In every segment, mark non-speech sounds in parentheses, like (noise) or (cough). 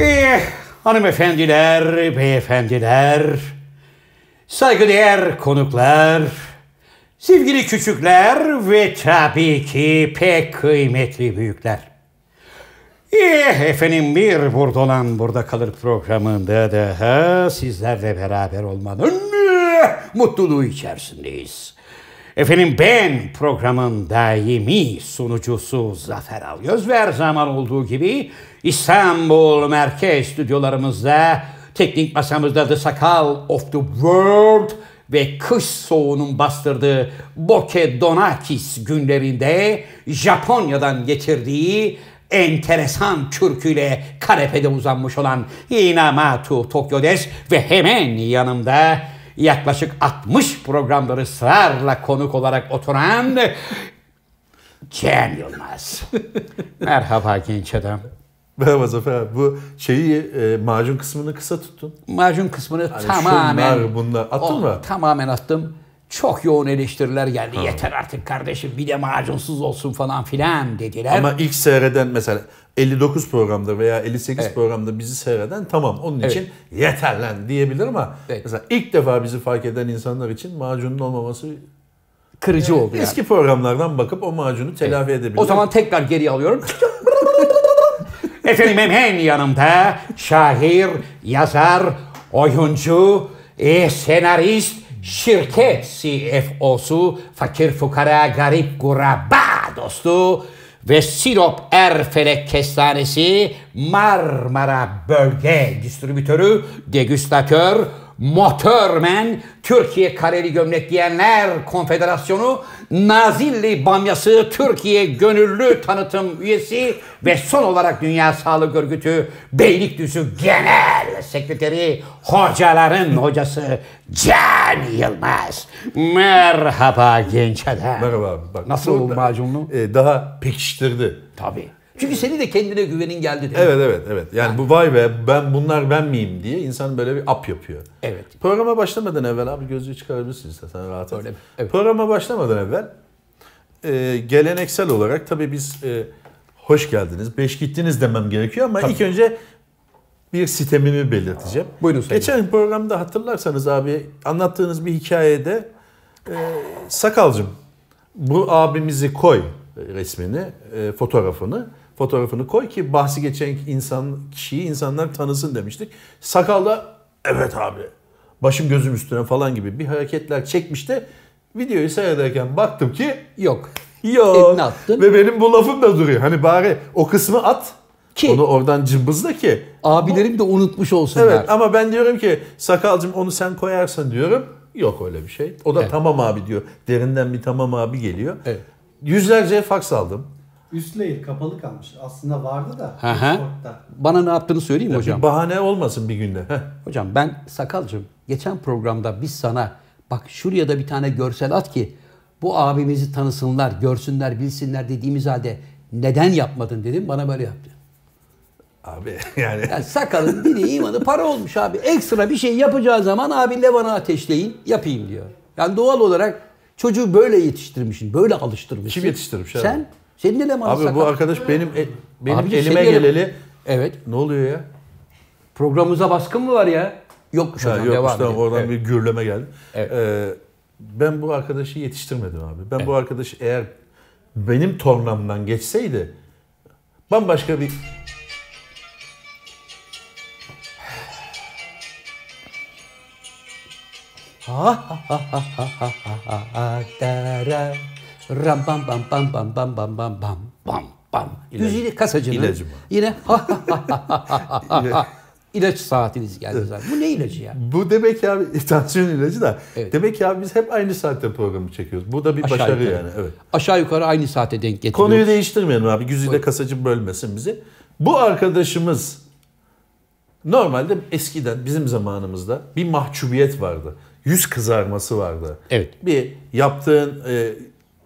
Eh, Hanımefendiler, beyefendiler, saygıdeğer konuklar, sevgili küçükler ve tabii ki pek kıymetli büyükler. Eh efendim bir burada olan burada kalır programında daha sizlerle beraber olmanın eh, mutluluğu içerisindeyiz. Efendim ben programın daimi sunucusu Zafer Algöz ve her zaman olduğu gibi İstanbul Merkez stüdyolarımızda teknik masamızda The Sakal of the World ve kış soğuğunun bastırdığı Bokeh Donakis günlerinde Japonya'dan getirdiği enteresan türküyle kanepede uzanmış olan Hinamatu Tokyodes ve hemen yanımda yaklaşık 60 programları ısrarla konuk olarak oturan Cem (laughs) Yılmaz. Merhaba genç adam. Merhaba Zafer abi. Bu şeyi e, macun kısmını kısa tuttun. Macun kısmını Hani şunlar, tamamen Oh, bunlar. Attın mı? Tamamen attım. Çok yoğun eleştiriler geldi. Yeter artık kardeşim bir de macunsuz olsun falan filan dediler. Ama ilk seyreden mesela 59 programda veya 58 programda bizi seyreden tamam onun için yeter lan diyebilir ama Evet. mesela ilk defa bizi fark eden insanlar için macunun olmaması Kırıcı oldu yani. eski programlardan bakıp o macunu telafi edebilir. O zaman tekrar geri alıyorum. (laughs) Efendim hemen yanımda şair, yazar, oyuncu, e, senarist, şirket CFO'su, fakir fukara garip guraba dostu ve Sinop Erfelek Kestanesi Marmara Bölge Distribütörü, degüstatör, motörmen, Türkiye Kareli Gömlek Giyenler Konfederasyonu, Nazilli Bamyası, Türkiye Gönüllü Tanıtım Üyesi ve son olarak Dünya Sağlık Örgütü Beylikdüzü Genel Sekreteri Hocaların Hocası Can Yılmaz. Merhaba genç adam. Merhaba abi. Bak, Nasıl oldu burada, macunlu? e, daha pekiştirdi. Tabii. Çünkü senin de kendine güvenin geldi. değil mi? Evet evet evet. Yani bu vay be ben bunlar ben miyim diye insan böyle bir ap yapıyor. Evet. Programa başlamadan evvel abi gözlüğü çıkarabilirsin istersen rahat et. Öyle mi? Evet. Programa başlamadan evvel e, geleneksel olarak tabii biz e, hoş geldiniz, beş gittiniz demem gerekiyor ama ilk önce bir sitemimi belirteceğim. Buyurun sayın. Geçen programda hatırlarsanız abi anlattığınız bir hikayede e, Sakalcım bu abimizi koy e, resmini, e, fotoğrafını. Fotoğrafını koy ki bahsi geçen insan kişiyi insanlar tanısın demiştik. Sakal da evet abi başım gözüm üstüne falan gibi bir hareketler çekmişti. Videoyu seyrederken baktım ki Yok. yok Elini attın. ve benim bu lafım da duruyor. Hani bari o kısmı at Ki- onu oradan cımbızla ki Abilerim de unutmuş olsunlar. Evet ama ben diyorum ki sakalcım onu sen koyarsın diyorum. Yok öyle bir şey. O da Evet. tamam abi diyor. Derinden bir tamam abi geliyor. Evet. Yüzlerce faks aldım. Üst layer kapalı kalmış. Aslında vardı da. Hı hı. Discord'da. Bana ne yaptığını söyleyeyim mi hocam. Bir bahane olmasın bir günde. Heh. Hocam ben Sakalcığım geçen programda biz sana bak şuraya da bir tane görsel at ki bu abimizi tanısınlar, görsünler, bilsinler dediğimiz halde neden yapmadın dedim bana böyle yaptı. Abi (laughs) yani Yani sakalın dini imanı para olmuş abi. Ekstra bir şey yapacağı zaman abinle bana ateşleyin yapayım diyor. Yani doğal olarak çocuğu böyle yetiştirmişsin, böyle alıştırmışsın. Kim yetiştirmiş abi? Sen. Senin elemanı abi sakal. bu arkadaş benim e- benim Abicim, elime senin ele- geleli Evet. ne oluyor ya? Programımıza baskın mı var ya? Yokmuş Ha, hocam yok devam işte edelim. oradan Evet. bir gürleme geldi. Evet. Ee, ben bu arkadaşı yetiştirmedim abi. Ben bu arkadaş eğer benim tornamdan geçseydi bambaşka bir Adara ram bam bam bam bam bam bam bam bam bam bam. Düz yine kasacının. İlacım. Yine ilaç saatiniz geldi zaten. Bu ne ilacı ya? Bu demek ki abi (laughs) tansiyon ilacı da. Evet. Demek ki abi biz hep aynı saatte programı çekiyoruz. Bu da bir Aşağı başarı yukarı. yani. Evet. Aşağı yukarı aynı saate denk getiriyor. Konuyu değiştirmeyelim abi. Güzide kasacı bölmesin bizi. Bu arkadaşımız normalde eskiden bizim zamanımızda bir mahcubiyet vardı. Yüz kızarması vardı. Evet. Bir yaptığın e,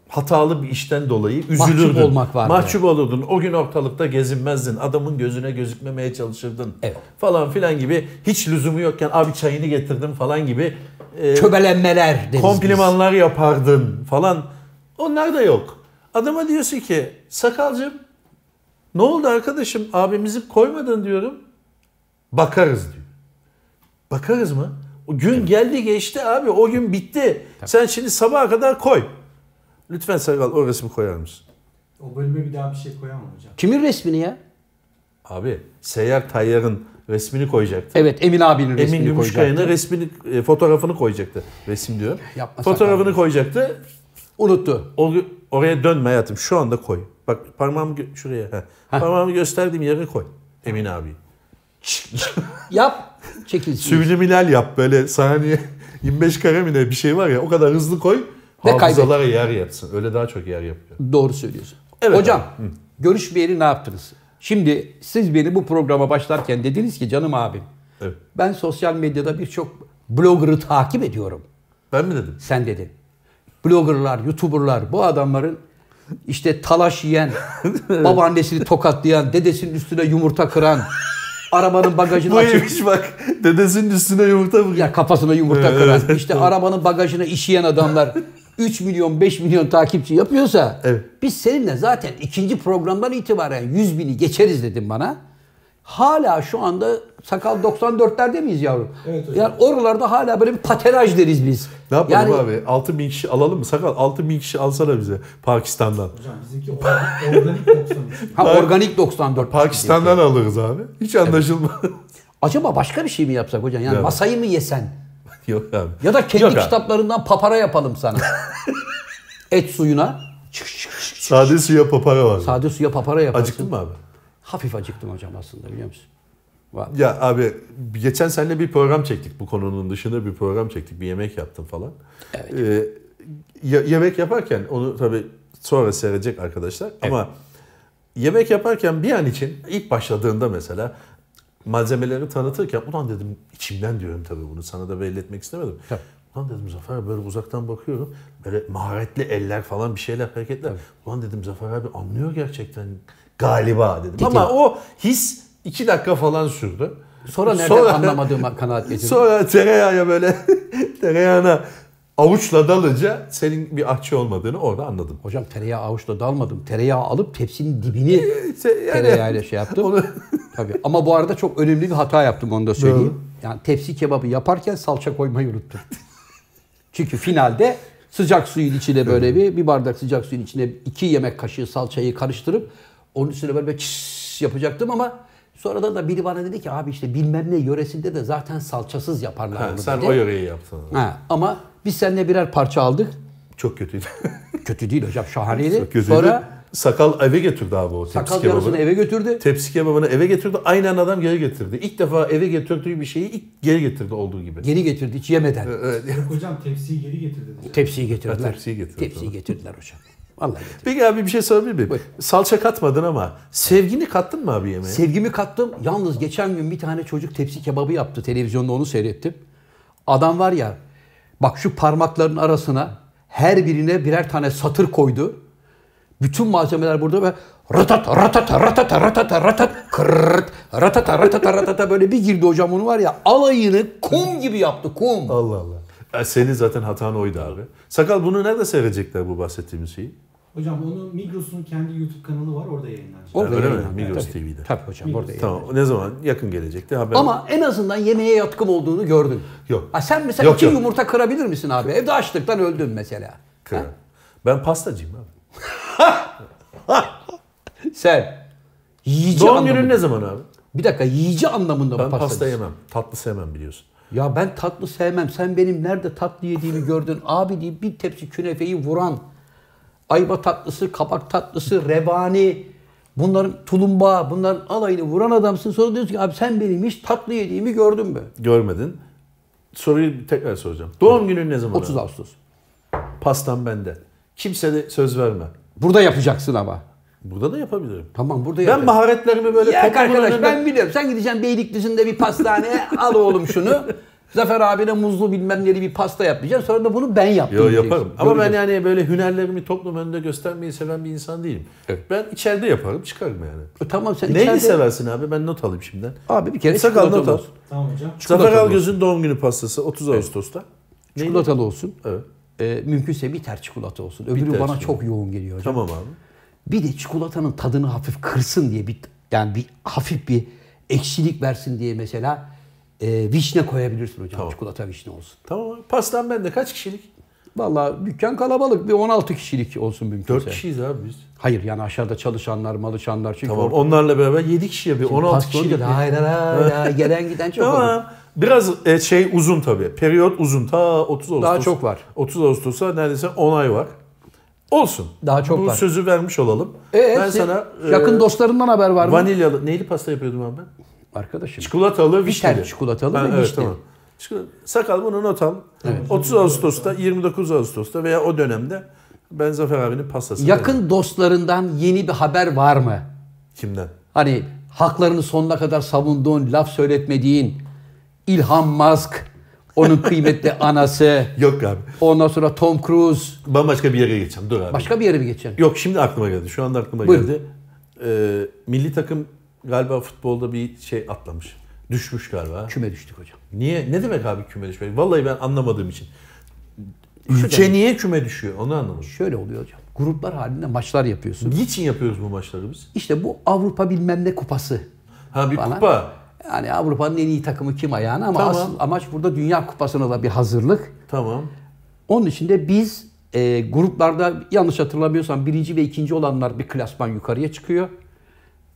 hatalı bir işten dolayı Mahcup üzülürdün. olmak vardı. Mahcup olurdun. O gün ortalıkta gezinmezdin. Adamın gözüne gözükmemeye çalışırdın. Evet. Falan filan gibi. Hiç lüzumu yokken abi çayını getirdim falan gibi. e, Köbelenmeler deriz biz. komplimanlar yapardın falan. Onlar da yok. Adama diyorsun ki sakalcım ne oldu arkadaşım abimizi koymadın diyorum. Bakarız diyor. Bakarız mı? O gün geldi geçti abi. O gün bitti. Sen şimdi sabaha kadar koy. Lütfen Sakal o resmi koyar mısın? O bölüme bir daha bir şey koyamam hocam. Kimin resmini ya? Abi Seyyar Tayyar'ın resmini koyacaktı. Evet Emin abinin Emin resmini koyacaktı. Gümüşkaya'nın resmini, e, fotoğrafını koyacaktı. Resim diyor. Yapma fotoğrafını Sakal. koyacaktı. Unuttu. O, oraya dönme hayatım. Şu anda koy. Bak parmağımı gö- şuraya. heh. Parmağımı gösterdiğim yere koy. Emin abi. Yap çekilsin. Sübliminal yap böyle saniye (laughs) 25 kare mi ne bir şey var ya o kadar hızlı koy. Ve hafızalara yer yapsın. Öyle daha çok yer yapıyor. Doğru söylüyorsun. Evet Hocam görüşmeyeli ne yaptınız? Şimdi siz beni bu programa başlarken dediniz ki canım abim Evet. ben sosyal medyada birçok blogger'ı takip ediyorum. Ben mi dedim? Sen dedin. Blogger'lar, YouTuber'lar bu adamların işte talaş (laughs) yiyen, babaannesini tokatlayan, dedesinin üstüne yumurta kıran, arabanın bagajını Bu açıp evmiş bak. (laughs) Dedesinin üstüne yumurta mı? ya kafasına Ee. yumurta kıran, (laughs) işte arabanın bagajına işeyen adamlar 3 milyon 5 milyon takipçi yapıyorsa Evet. biz seninle zaten ikinci programdan itibaren 100 bini geçeriz dedim bana. Hala şu anda sakal 94'lerde miyiz yavrum? Evet hocam. yani oralarda hala böyle bir patenaj deriz biz. Ne yapalım yani, abi? 6000 bin kişi alalım mı? Sakal 6000 bin kişi alsana bize Pakistan'dan. Hocam bizimki organik, organik (laughs) 93. Ha, organik 94. Pakistan'dan alırız abi. Hiç anlaşılmaz. (laughs) Acaba başka bir şey mi yapsak hocam? Yani Evet. masayı mı yesen? Yok abi. Ya da kendi Yok abi. kitaplarından papara yapalım (laughs) sana. Et suyuna. çık çık çık. Sade suya papara var. Sade suya papara yaparsın. Acıktın mı abi? Hafif acıktım hocam aslında biliyor musun? Var. Ya abi geçen seninle bir program çektik bu konunun dışında bir program çektik. Bir yemek yaptım falan. Ee, ya- yemek yaparken onu tabii sonra seyredecek arkadaşlar ama yemek yaparken bir an için ilk başladığında mesela malzemeleri tanıtırken ulan dedim içimden diyorum tabii bunu sana da belli etmek istemedim. Tabii. Ulan dedim Zafer abi böyle uzaktan bakıyorum böyle maharetli eller falan bir şeyler hareketler. Ulan dedim Zafer abi anlıyor gerçekten galiba dedim. Ama o his iki dakika falan sürdü. Sonra nereden Sonra- (laughs) anlamadığıma kanaat getirdim. Sonra tereyağıya böyle (laughs) tereyağına avuçla dalınca senin bir ahçı olmadığını orada anladım. Hocam tereyağı avuçla dalmadım. Tereyağı alıp tepsinin dibini İşte E, yani- tereyağıyla şey yaptım. Onu- Tabii. Ama bu arada çok önemli bir hata yaptım onu da söyleyeyim. Yani tepsi kebabı yaparken salça koymayı unuttum. Çünkü finalde sıcak suyun içine böyle bir, bir bardak sıcak suyun içine iki yemek kaşığı salçayı karıştırıp onun üstüne böyle bir çiss yapacaktım ama sonradan da biri bana dedi ki abi işte bilmem ne yöresinde de zaten salçasız yaparlar Ha, bunu sen dedi. o yöreyi yaptın. Ha, ama biz seninle birer parça aldık. Çok kötüydü. Kötü değil hocam şahaneydi. Çok kötüydü. E, Sonra sakal eve götürdü abi o tepsi sakal kebabını. yarısını eve götürdü. Tepsi kebabını eve getirdi. Aynen adam geri getirdi. İlk defa eve getirdiği bir şeyi ilk geri getirdi olduğu gibi. Geri getirdi hiç yemeden. Evet. Yok hocam tepsiyi geri getirdi dedi. Tepsiyi getirdiler. Ha, tepsiyi getirdi, Tepsiyi tamam. getirdiler hocam. Vallahi getirdiler. Peki abi bir şey sorabilir miyim? Buyur. Salça katmadın ama sevgini kattın mı abi yemeğe? Sevgimi kattım. Yalnız geçen gün bir tane çocuk tepsi kebabı yaptı. Televizyonda onu seyrettim. Adam var ya bak şu parmakların arasına her birine birer tane satır koydu. Bütün malzemeler burada ve ratat ratat ratat ratat ratat kırrt ratat ratat ratat böyle bir girdi hocam onu var ya alayını kum gibi yaptı kum. Allah Allah. E, senin zaten hatan oydu abi. Sakal bunu nerede seyredecekler bu bahsettiğimiz şeyi? Hocam onu Migros'un kendi YouTube kanalı var orada yayınlanacak. Orada öyle mi? yayınlandı. Migros Tabii. TV'de. Tabii hocam orada yayınlandı. Tamam ne zaman? Yakın gelecekte haber. E, Ama en azından yemeğe yatkın olduğunu gördün. Yok. Ha sen mesela Yok, iki yok. yumurta kırabilir misin abi? Evde açlıktan öldün mesela. Kral. Ben pastacıyım abi. Sen yiyici Doğum anlamında. günün ne zaman abi? Bir dakika yiyici anlamında Ben mı pasta pasta yemem. Tatlı sevmem biliyorsun. Ya ben tatlı sevmem. Sen benim nerede tatlı yediğimi (laughs) gördün. Abi diye bir tepsi künefeyi vuran. Ayva tatlısı, kabak tatlısı, revani. Bunların tulumba, bunların alayını vuran adamsın. Sonra diyorsun ki abi sen benim hiç tatlı yediğimi gördün mü? Görmedin. Soruyu tekrar soracağım. Doğum günün ne zaman? 30 abi? Ağustos. Pastam bende. Kimse de söz verme. Burada yapacaksın ama. Burada da yapabilirim. Tamam burada Ben maharetlerimi böyle Ya toplumun arkadaş önünde- ben biliyorum. Sen gideceksin Beylikdüzü'nde bir pastaneye (laughs) al oğlum şunu. Zafer abine muzlu bilmem neli bir pasta yapacaksın. Sonra da bunu ben yaptım. Yo diyeceksin. yaparım. Ama ben Göreceksin. yani böyle hünerlerimi toplum önünde göstermeyi seven bir insan değilim. Ben içeride yaparım çıkarım yani. E Tamam sen Neyi içeride- seversin abi? Ben not alayım şimdiden. Abi bir kere Sakal not çikolatalı al. olsun. Tamam hocam. Zafer Çikolatalı Algöz'ün doğum günü pastası 30 Ağustos'ta. Neydi? Çikolatalı olsun. Evet. Ee, mümkünse biter çikolata olsun. Öbürü Bitter bana çikolata. çok yoğun geliyor. hocam. Tamam abi. Bir de çikolatanın tadını hafif kırsın diye bir yani bir hafif bir ekşilik versin diye mesela e, vişne koyabilirsin hocam. Tamam. Çikolata vişne olsun. Tamam abi. Pastan bende kaç kişilik? Vallahi dükkan kalabalık. Bir 16 kişilik olsun mümkünse. 4 kişiyiz abi biz. Hayır yani aşağıda çalışanlar, malışanlar. Çünkü Tamam orada- onlarla beraber 7 kişiye bir 16 Pasta kişilik. olunca da Hayır hayır hayır. Gelen giden çok olur. Tamam. Biraz e, şey uzun tabii. Periyot uzun. Ta 30 Ağustos. Daha çok var. 30 Ağustos'a neredeyse 10 ay var. Olsun. Daha çok Bu var. sözü vermiş olalım. Ee, ben sen- sana yakın e, dostlarından haber var mı? vanilyalı neyli pasta yapıyordum abi ben? Arkadaşım. Çikolatalı vişneli. tane çikolatalı Ben- ve evet, vişneli. tamam. Çikolata- Sakal bunu not al. 30 Ağustos'ta 29 Ağustos'ta veya o dönemde ben Zafer abinin pastasını verdim. yakın dostlarından yeni bir haber var mı? Kimden? Hani haklarını sonuna kadar savunduğun, laf söyletmediğin İlhan Musk, (laughs) onun kıymetli anası, Yok abi. ondan sonra Tom Cruise. Bambaşka bir yere geçeceğim. Dur abi. Başka bir yere mi geçeceksin? Yok şimdi aklıma geldi. Şu anda aklıma Buyurun. geldi. Ee, milli takım galiba futbolda bir şey atlamış. Düşmüş galiba. Küme düştük hocam. Niye? Ne demek abi küme düşmek? Vallahi ben anlamadığım için. Ülke niye küme düşüyor? Onu anlamadım. Şöyle oluyor hocam. Gruplar halinde maçlar yapıyorsun. Niçin yapıyoruz bu maçları biz? İşte bu Avrupa bilmem ne kupası. Ha bir Falan. kupa. Yani Avrupa'nın en iyi takımı kim ayağına ama Tamam. asıl amaç burada Dünya Kupası'na da bir hazırlık. Tamam. Onun için de biz e, gruplarda yanlış hatırlamıyorsam birinci ve ikinci olanlar bir klasman yukarıya çıkıyor.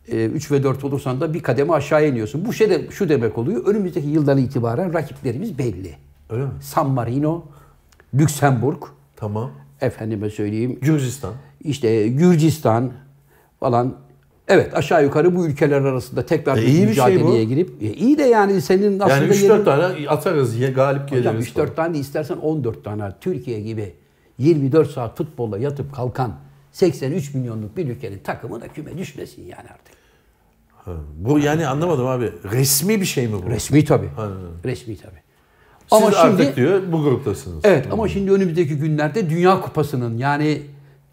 E, üç ve dört olursan da bir kademe aşağıya iniyorsun. Bu şey de şu demek oluyor. Önümüzdeki yıldan itibaren rakiplerimiz belli. Öyle mi? San Marino, Lüksemburg, Tamam. efendime söyleyeyim Gürcistan. işte Gürcistan falan. Evet aşağı yukarı bu ülkeler arasında tekrar E, bir iyi bir şey mücadeleye bu. girip e, iyi de yani senin aslında Yani 3-4 yerin- tane atarız ya galip geliriz. Hocam 3-4 tane istersen 14 tane Türkiye gibi 24 saat futbolla yatıp kalkan 83 milyonluk bir ülkenin takımına küme düşmesin yani artık. Ha, Bu yani anlamadım abi. Resmi bir şey mi bu? Resmi tabii. Aynen. Resmi tabii. Siz Ama artık şimdi diyor bu gruptasınız. evet ama şimdi önümüzdeki günlerde Dünya Kupası'nın yani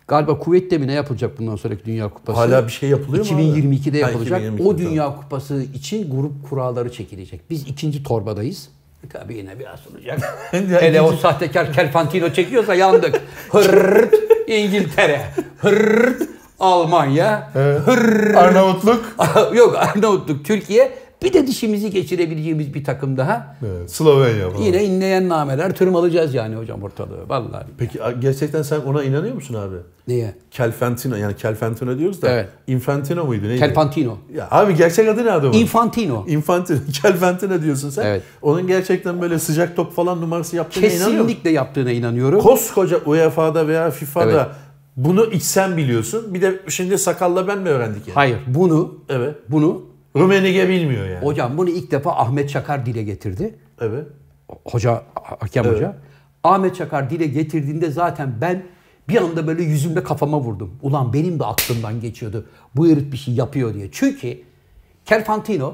galiba kuvvetle mi ne yapılacak bundan sonraki Dünya Kupası? Hala bir şey yapılıyor mu? abi? 2022'de Ha, yapılacak. 2022'de, o tamam. Dünya Kupası için grup kuralları çekilecek. Biz ikinci torbadayız. Tabii yine biraz (laughs) olacak. Hele o sahtekar Kerfantino çekiyorsa yandık. Hırrt İngiltere. Hırrt Almanya. Arnavutluk. (laughs) Yok Arnavutluk Türkiye. Bir de dişimizi geçirebileceğimiz bir takım daha. Evet, Slovenya falan. Yine inleyen nameler tırmalayacağız yani hocam ortalığı. Vallahi. Peki a- gerçekten sen ona inanıyor musun abi? Niye? Kelfentino yani Kelfentino diyoruz da Evet. Infantino muydu neydi? Kerfantino. ya abi gerçek adı ne adamın? Infantino. Infantino, (laughs) Kelfentino diyorsun sen. Evet. Onun gerçekten böyle sıcak top falan numarası yaptığına inanıyor musun? Kesinlikle yaptığına inanıyorum. Koskoca UEFA'da veya FIFA'da bunu içsen biliyorsun. Bir de şimdi sakalla ben mi öğrendik yani? Hayır bunu Evet. bunu Rumenige bilmiyor yani. hocam bunu ilk defa Ahmet Çakar dile getirdi. Evet. hoca hakem hoca. Ahmet Çakar dile getirdiğinde zaten ben bir anda böyle yüzümle kafama vurdum. Ulan benim de aklımdan geçiyordu. Bu herif bir şey yapıyor diye. Çünkü Kerfantino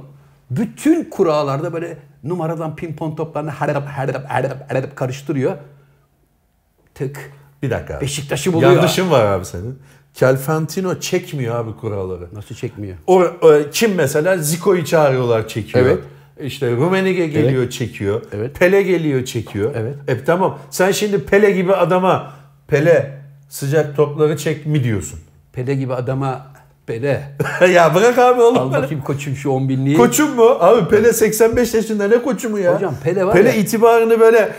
bütün kurallarda böyle numaradan pimpon toplarını herdap herdap herdap herdap karıştırıyor. Tık. Bir dakika abi. Beşiktaş'ı buluyor. Yanlışın var abi senin. Kelfentino çekmiyor abi kuralları. Nasıl çekmiyor? O, e, kim mesela Zico'yu çağırıyorlar çekiyor. Evet. İşte Rumenige geliyor çekiyor. Evet. Pele geliyor çekiyor. Evet. E tamam sen şimdi Pele gibi adama Pele sıcak topları çek mi diyorsun? (laughs) Pele gibi adama Pele. ya bırak abi Al oğlum bana. bakayım koçum şu 10 binliği. Koçum mu? Abi Pele 85 yaşında ne koçu mu ya? Hocam Pele var Pele ya- itibarını böyle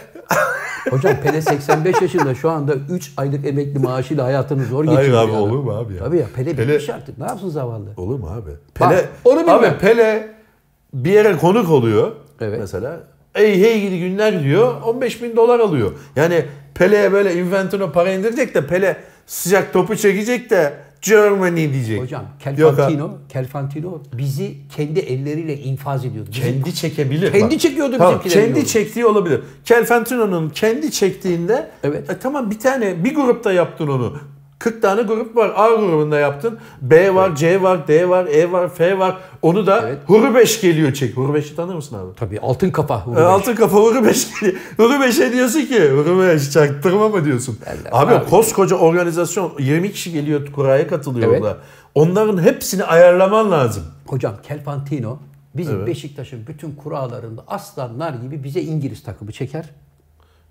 Hocam Pele 85 yaşında şu anda 3 aylık emekli maaşıyla hayatını zor Hayır geçiriyor. abi, ya. olur mu abi ya? Tabii ya Pele, Pele- bitmiş artık. Ne yapsın zavallı? Olur mu abi? Pele, Bak, onu bilmem. Abi Pele bir yere konuk oluyor Evet. mesela. Ey hey gidi günler diyor 15 bin dolar alıyor. Yani Pele'ye böyle Infantino para indirecek de Pele sıcak topu çekecek de Germany diyecek. Hocam Yok ha. Kelfantino, Kelfantino bizi kendi elleriyle infaz ediyordu. Bizim- kendi çekebilir. Kendi bak. çekiyordu Tamam, bizimkileri Kendi diyorum. çektiği olabilir. Kelfantino'nun kendi çektiğinde Evet. e, tamam bir tane bir grupta yaptın onu. 40 tane grup var. A grubunda yaptın. B var, C var, D var, E var, F var. Onu da Evet. Hurubeş geliyor çek. Hurubeş'i tanır mısın abi? Tabii altın kafa. E, Altın kafa Hurubeş geliyor. Hurubeş'e diyorsun ki Hurubeş çaktırma mı diyorsun? Abi, abi. koskoca organizasyon 20 kişi geliyor kuraya katılıyor Evet. orada. Onların hepsini ayarlaman lazım. Hocam Kelfantino bizim Beşiktaş'ın bütün kurallarında aslanlar gibi bize İngiliz takımı çeker.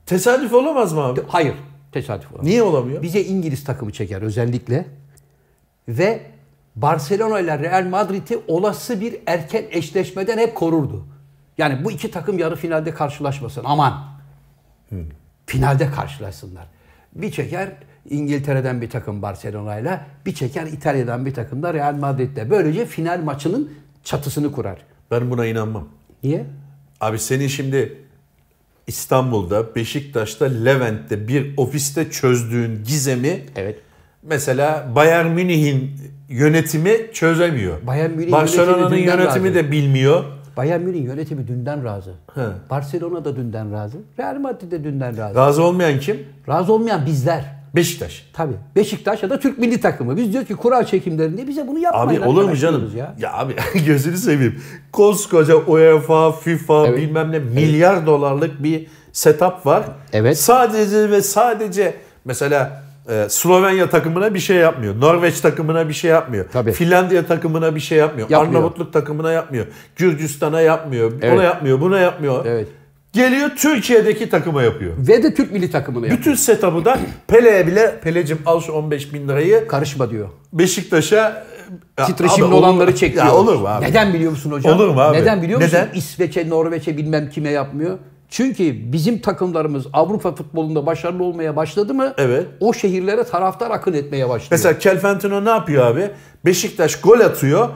Tesadüf olamaz mı abi? Hayır tesadüf olamaz. Niye olamıyor? Bize İngiliz takımı çeker özellikle. Ve Barcelona ile Real Madrid'i olası bir erken eşleşmeden hep korurdu. Yani bu iki takım yarı finalde karşılaşmasın. Aman. Finalde karşılaşsınlar. Bir çeker İngiltere'den bir takım Barcelona'yla, bir çeker İtalya'dan bir takım da Real Madrid'le. Böylece final maçının çatısını kurar. Ben buna inanmam. Niye? Abi senin şimdi İstanbul'da, Beşiktaş'ta, Levent'te bir ofiste çözdüğün gizemi Evet. mesela Bayern Münih'in yönetimi çözemiyor. Bayern Münih Barcelona'nın yönetimi dünden yönetimi razı. de bilmiyor. Bayern Münih yönetimi dünden razı. He. Barcelona da dünden razı. Real Madrid de dünden razı. Razı olmayan kim? razı olmayan bizler. Beşiktaş. Tabii. Beşiktaş ya da Türk milli takımı. Biz diyoruz ki kura çekimlerinde bize bunu yapmayın. Abi olur mu arkadaş canım? diyoruz Ya. abi (laughs) gözünü seveyim. Koskoca UEFA, FIFA Evet. bilmem ne milyar dolarlık bir setup var. Evet. Sadece ve sadece mesela e, Slovenya takımına bir şey yapmıyor. Norveç takımına bir şey yapmıyor. Tabii. Finlandiya takımına bir şey yapmıyor. Yapmıyor. Arnavutluk takımına yapmıyor. Gürcistan'a yapmıyor. Evet. Ona yapmıyor, buna yapmıyor. Evet. Geliyor Türkiye'deki takıma yapıyor. Ve de Türk milli takımını yap. Bütün setup'ı da Pele'ye bile Pele'cim al şu 15 bin lirayı Karışma diyor. Beşiktaş'a ya Titreşimli abi olur- olanları çekiyor. Ya olur mu abi? Neden biliyor musun hocam? Olur mu abi? Neden biliyor musun? Neden? İsveç'e, Norveç'e bilmem kime yapmıyor. Çünkü bizim takımlarımız Avrupa futbolunda başarılı olmaya başladı mı? Evet. O şehirlere taraftar akın etmeye başlıyor. Mesela Kelfentino ne yapıyor abi? Beşiktaş gol atıyor.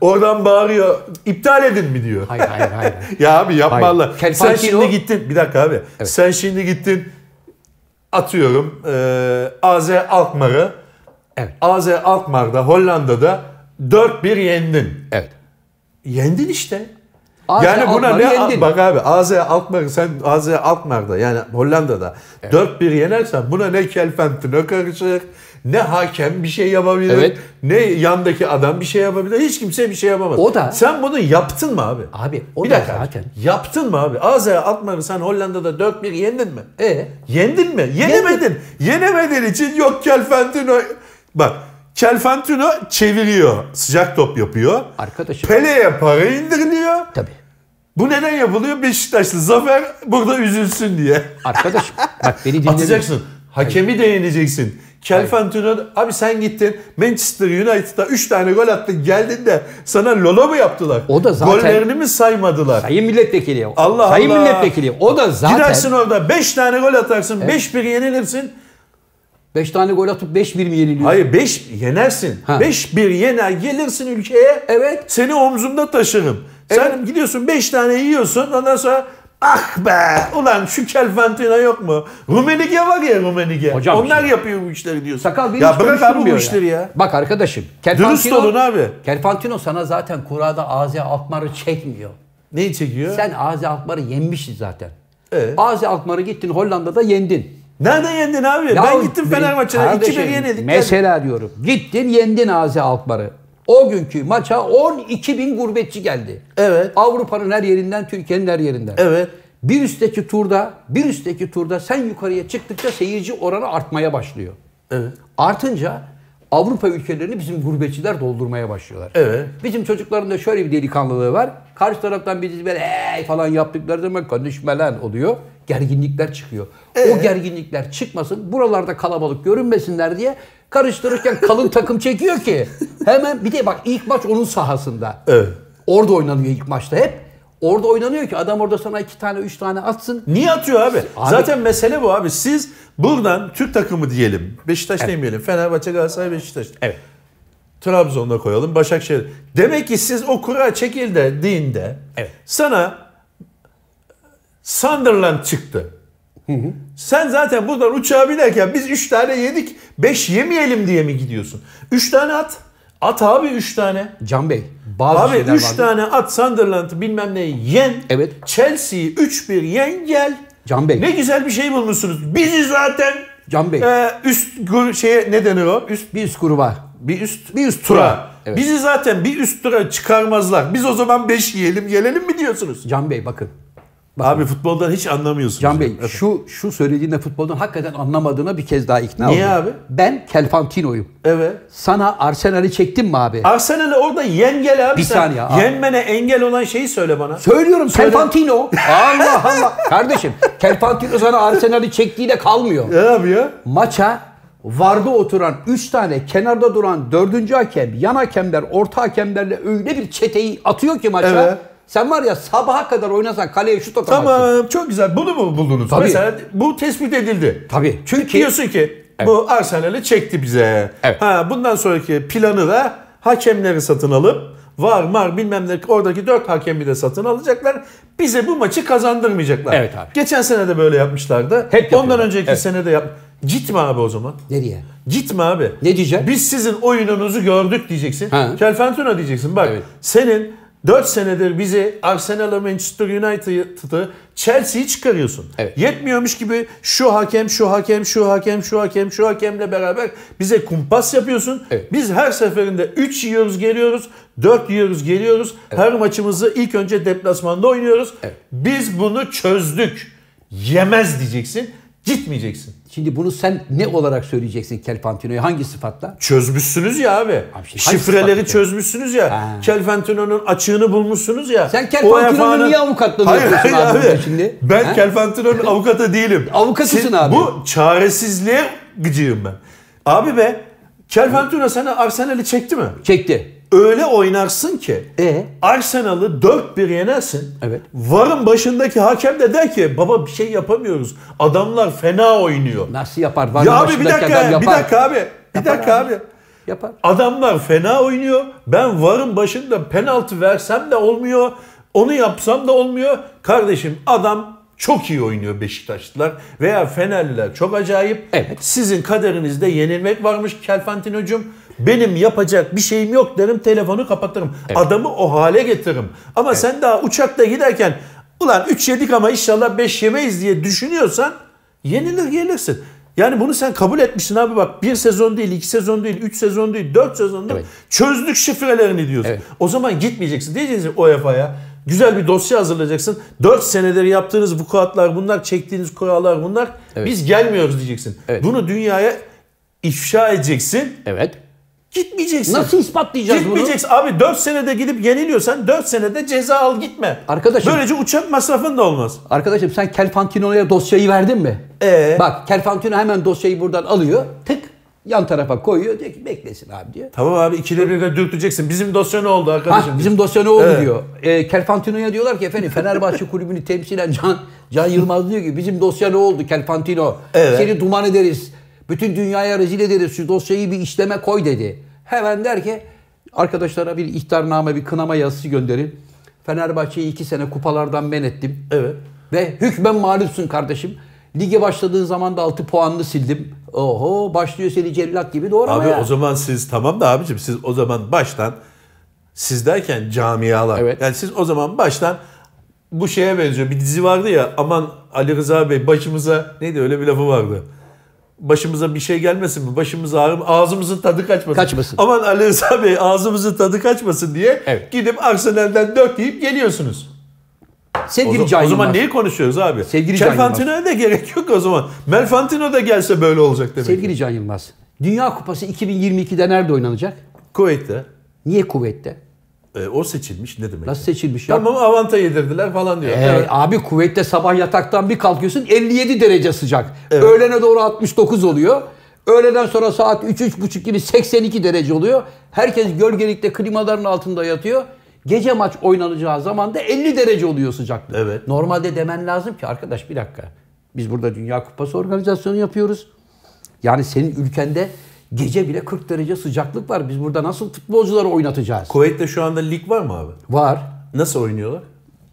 Oradan bağırıyor. İptal edin mi diyor. Hayır hayır (laughs) hayır. ya abi yapma Hayır. Allah. Sen Kelfentino- şimdi gittin. Bir dakika abi. Sen şimdi gittin. Atıyorum. eee AZ Alkmaar'ı. Evet. AZ Alkmaar'da Hollanda'da 4-1 yendin. evet. Yendin işte. AZ yani buna Alkmaar'ı ne yendin. bak abi AZ Alkmaar'ı sen AZ Alkmaar'da yani Hollanda'da 4-1 yenersen buna ne Kelfentino karışır ne hakem bir şey yapabilir Evet. ne yandaki adam bir şey yapabilir hiç kimse bir şey yapamaz. O da- Sen bunu yaptın mı abi? Abi o bir da dakika zaten. yaptın mı abi? AZ Alkmaar'ı sen Hollanda'da 4-1 yendin mi? E Yendin mi? Yenemedin. Yenemediğin için yok Kelfentino. Bak Kelfentino çeviriyor. Sıcak top yapıyor. arkadaşım. Pele'ye para indiriliyor. Tabii. Bu neden yapılıyor? Beşiktaşlı Zafer burada üzülsün diye. Arkadaşım bak beni dinle. Atacaksın. Hakemi de yeneceksin. Kelfantino abi sen gittin Manchester United'a 3 tane gol attın geldin de sana lolo mu yaptılar? O da zaten- Gollerini mi saymadılar? Sayın milletvekili. Allah Sayın Allah. milletvekili. O da zaten Gidersin orada 5 tane gol atarsın 5-1 yenilirsin. 5 tane gol atıp 5-1 mi yeniliyor? Hayır 5 yenersin. Ha. 5-1 yener gelirsin ülkeye. Evet. Seni omzumda taşırım. Sen gidiyorsun 5 tane yiyorsun ondan sonra ah be ulan şu Kelfantina yok mu? Rumenige var ya Rumenige. Hocam Onlar işte- yapıyor bu işleri diyorsun. Sakal beni hiç E, ya bırak abi konuşturmuyor bu işleri ya. Bak arkadaşım. Dürüst Kerpantino, olun abi. Kerpantino sana zaten kurada Azi Alkmar'ı çekmiyor. Neyi çekiyor? Sen Azi Alkmar'ı yenmişsin zaten. Ee? Azi Alkmar'ı gittin Hollanda'da yendin. Nereden yendin abi? ben Yahu gittim benim- Fenerbahçe'ye 2-1 Kardeşim, yenildik. Mesela diyorum. Gittin yendin Azi Alkmar'ı. O günkü maça 12 bin gurbetçi geldi. Evet. Avrupa'nın her yerinden, Türkiye'nin her yerinden. Evet. Bir üstteki turda, bir üstteki turda sen yukarıya çıktıkça seyirci oranı artmaya başlıyor. Evet. Artınca Avrupa ülkelerini bizim gurbetçiler doldurmaya başlıyorlar. Evet. Bizim çocukların da şöyle bir delikanlılığı var. Karşı taraftan bizi böyle "Hey!" falan yaptıkları zaman konuşma lan oluyor. Gerginlikler çıkıyor. O gerginlikler çıkmasın, buralarda kalabalık görünmesinler diye karıştırırken kalın takım çekiyor ki. Hemen bir de bak ilk maç onun sahasında. Evet. Orada oynanıyor ilk maçta hep. Orada oynanıyor ki adam orada sana iki tane üç tane atsın. Niye atıyor abi? Abi- Zaten mesele bu abi. Siz buradan Türk takımı diyelim. Beşiktaş demeyelim. Fenerbahçe, Galatasaray, Beşiktaş. Evet. Trabzon'da koyalım. Başakşehir. Demek ki siz o kura çekildiğinde Evet. sana Sunderland çıktı. Sen zaten buradan uçağa binerken biz 3 tane yedik 5 yemeyelim diye mi gidiyorsun? 3 tane at. At abi 3 tane. Can Bey bazı Abi şeyler 3 vardı. tane at Sunderland'ı bilmem neyi yen. Evet. Chelsea'yi 3-1 yen gel. Can Bey. Ne güzel bir şey bulmuşsunuz. Bizi zaten Can Bey. e, üst gru- şeye ne denir o? Üst Bir üst gruba. bir üst bir üst tura. Evet. Bizi zaten bir üst tura çıkarmazlar. Biz o zaman 5 yiyelim gelelim mi diyorsunuz? Can Bey bakın. Abi futboldan hiç anlamıyorsunuz. Can Bey Efendim. şu şu söylediğinde futboldan hakikaten anlamadığına bir kez daha ikna Niye oldum. abi? Ben Kelfantino'yum. Evet. Sana Arsenal'i çektim mi abi? Arsenal'e orada yen gel abi Bir sen. saniye abi. Yenmene engel olan şeyi söyle bana. Söylüyorum Söyle. Kelfantino. Allah Allah. Kardeşim Kelfantino sana Arsenal'i çektiğiyle kalmıyor. Ne abi ya? Maça Varda oturan 3 tane, kenarda duran 4. hakem, yan hakemler, orta hakemlerle öyle bir çeteyi atıyor ki maça. Evet. Sen var ya sabaha kadar oynasan kaleye şut atamazsın. Tamam çok güzel. Bunu mu buldunuz? Tabii. Mesela bu tespit edildi. Tabii. Çünkü Diyorsun ki bu Arsenal'i çekti bize. Evet. Ha bundan sonraki planı da hakemleri satın alıp var mar bilmem ne oradaki dört hakemi de satın alacaklar. Bize bu maçı kazandırmayacaklar. Evet abi. Geçen sene de böyle yapmışlardı. Hep Ondan yapıyorlar. önceki Evet. sene de yap. Gitme abi o zaman. nereye? Gitme abi. Ne diyecek? Biz sizin oyununuzu gördük diyeceksin. Ha. Kelfentuna diyeceksin. Bak Evet. senin 4 senedir bizi Arsenal'a Manchester United'ı Chelsea'yi çıkarıyorsun. Evet. Yetmiyormuş gibi şu hakem, şu hakem, şu hakem, şu hakem, şu hakemle beraber bize kumpas yapıyorsun. Evet. Biz her seferinde 3 yiyoruz geliyoruz, 4 yiyoruz geliyoruz. Her maçımızı ilk önce deplasmanda oynuyoruz. Evet. Biz bunu çözdük. Yemez diyeceksin. Gitmeyeceksin. Şimdi bunu sen ne olarak söyleyeceksin Kelpantino'ya? Hangi sıfatla? Çözmüşsünüz ya abi. şimdi hangi Şifreleri sıfatla? çözmüşsünüz ya. Ha. Kelfentino'nun açığını bulmuşsunuz ya. Sen O Kelpantino'nun UEFA'nın niye avukatlığını Hayır, yapıyorsun hayır abi, burada abi. şimdi? Ben Ha? Kelfentino'nun (laughs) avukatı değilim. Avukatısın Sen- abi. Bu çaresizliğe gıcığım ben. Abi be Kelfentino sana Arsenal'i çekti mi? Çekti. Öyle oynarsın ki E? Arsenal'ı 4-1 yenersin. Evet. Varın başındaki hakem de der ki baba bir şey yapamıyoruz. Adamlar fena oynuyor. Nasıl yapar? Var ya mı abi bir başındaki adam dakika, bir yapar. dakika abi. Bir dakika abi. Yapar. Adamlar fena oynuyor. Ben varın başında penaltı versem de olmuyor. Onu yapsam da olmuyor. Kardeşim adam çok iyi oynuyor Beşiktaşlılar veya Fenerliler çok acayip. Evet. Sizin kaderinizde yenilmek varmış Kelfantino'cum. Benim yapacak bir şeyim yok derim telefonu kapatırım. Adamı o hale getiririm. Ama sen daha uçakta giderken ulan 3 yedik ama inşallah 5 yemeyiz diye düşünüyorsan yenilir gelirsin. Yani bunu sen kabul etmişsin abi bak bir sezon değil, iki sezon değil, üç sezon değil, dört sezon değil. Evet. Çözdük şifrelerini diyorsun. Evet. O zaman gitmeyeceksin. Diyeceksin UEFA'ya. Güzel bir dosya hazırlayacaksın. 4 senedir yaptığınız vukuatlar bunlar, çektiğiniz kurallar bunlar. Evet. Biz gelmiyoruz diyeceksin. Evet. Bunu dünyaya ifşa edeceksin. Evet. Gitmeyeceksin. Nasıl ispatlayacağız bunu? Gitmeyeceksin. Abi 4 senede gidip yeniliyorsan 4 senede ceza al gitme. Arkadaşım- Böylece uçak masrafın da olmaz. Arkadaşım sen Kelfantino'ya dosyayı verdin mi? Ee? Bak Kelfantino hemen dosyayı buradan alıyor. Tık yan tarafa koyuyor. Diyor ki beklesin abi diyor. Tamam abi ikide bir de dürteceksin. Bizim dosya ne oldu Ha, arkadaşım? bizim dosya ne oldu Evet. diyor. E, Kelfantino'ya diyorlar ki efendim Fenerbahçe (laughs) kulübünü temsilen Can, Can Yılmaz diyor ki bizim dosya ne oldu Kelfantino? Evet. Seni duman ederiz. Bütün dünyaya rezil ederiz. Şu dosyayı bir işleme koy dedi. Hemen der ki arkadaşlara bir ihtarname, bir kınama yazısı gönderin. Fenerbahçe'yi iki sene kupalardan men ettim. Evet. Ve hükmen mağlupsun kardeşim. Lige başladığın zaman da 6 puanını sildim. Oho başlıyor seni cellat gibi doğru Abi ya. o zaman siz tamam da abicim siz o zaman baştan siz derken camialar. Evet. Yani siz o zaman baştan bu şeye benziyor. Bir dizi vardı ya aman Ali Rıza Bey başımıza neydi öyle bir lafı vardı. Başımıza bir şey gelmesin mi? Başımız ağrım, ağzımızın tadı kaçmasın. Kaçmasın. Aman Ali Rıza Bey ağzımızın tadı kaçmasın diye Evet. gidip Arsenal'den dört deyip geliyorsunuz. O, Sevgili zaman- Can o zaman Yılmaz. neyi konuşuyoruz abi? Sevgili Can Yılmaz. Kelfantino'ya da gerek yok o zaman. Melfantino da gelse böyle olacak demek. Sevgili Can Yılmaz. Dünya Kupası 2022'de nerede oynanacak? Kuveyt'te Niye kuvvette? e, o seçilmiş ne demek? Nasıl seçilmiş ya? Tamam avanta yedirdiler falan diyor. Ee, Evet. Abi kuvvette sabah yataktan bir kalkıyorsun 57 derece sıcak. Öğlene doğru 69 oluyor. Öğleden sonra saat 3-3.30 gibi 82 derece oluyor. Herkes gölgelikte klimaların altında yatıyor. Gece maç oynanacağı zaman da 50 derece oluyor sıcaklık. Evet. Normalde demen lazım ki arkadaş bir dakika. Biz burada Dünya Kupası organizasyonu yapıyoruz. Yani senin ülkende gece bile 40 derece sıcaklık var. Biz burada nasıl futbolcuları oynatacağız? Kuveyt'te şu anda lig var mı abi? Var. Nasıl oynuyorlar?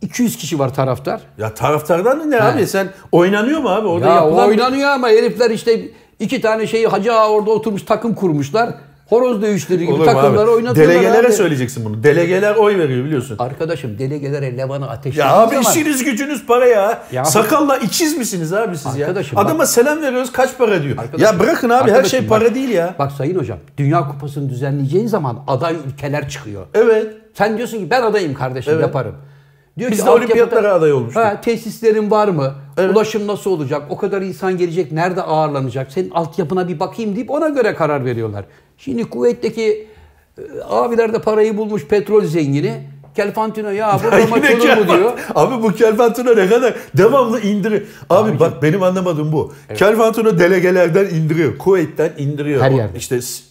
200 kişi var taraftar. Ya taraftardan ne abi? Sen oynanıyor mu abi? Orada Ya yapılan... oynanıyor ama herifler işte iki tane şeyi hacı ağa orada oturmuş takım kurmuşlar. Horoz dövüşleri gibi Olur mu takımları abi? oynatıyorlar Delegelere abi. söyleyeceksin bunu. Delegeler oy veriyor biliyorsun. Arkadaşım delegelere levanı ateşliyoruz Ya abi ama işiniz gücünüz para ya. Ya- Sakalla ikiz misiniz abi siz ya? Arkadaşım bak- Adama selam veriyoruz kaç para diyor. Arkadaşım- ya bırakın abi her arkadaşım şey bak- para değil ya. Bak Sayın Hocam Dünya Kupası'nı düzenleyeceğin zaman aday ülkeler çıkıyor. Evet. Sen diyorsun ki ben adayım kardeşim Evet. yaparım. Diyor Biz ki, de altyapıda- olimpiyatlara aday olmuştuk. Ha, tesislerin var mı? Ulaşım nasıl olacak? O kadar insan gelecek. Nerede ağırlanacak? Senin altyapına bir bakayım deyip ona göre karar veriyorlar. Şimdi kuvvetteki e, abiler de parayı bulmuş petrol zengini. Kelfantino ya (laughs) bu maç olur mu Kelfan- diyor. Abi bu Kelfantino ne kadar devamlı indiriyor. Abi bak benim anlamadığım bu. Kelfantino delegelerden indiriyor. Kuveyt'ten indiriyor. Her yerden. İşte s-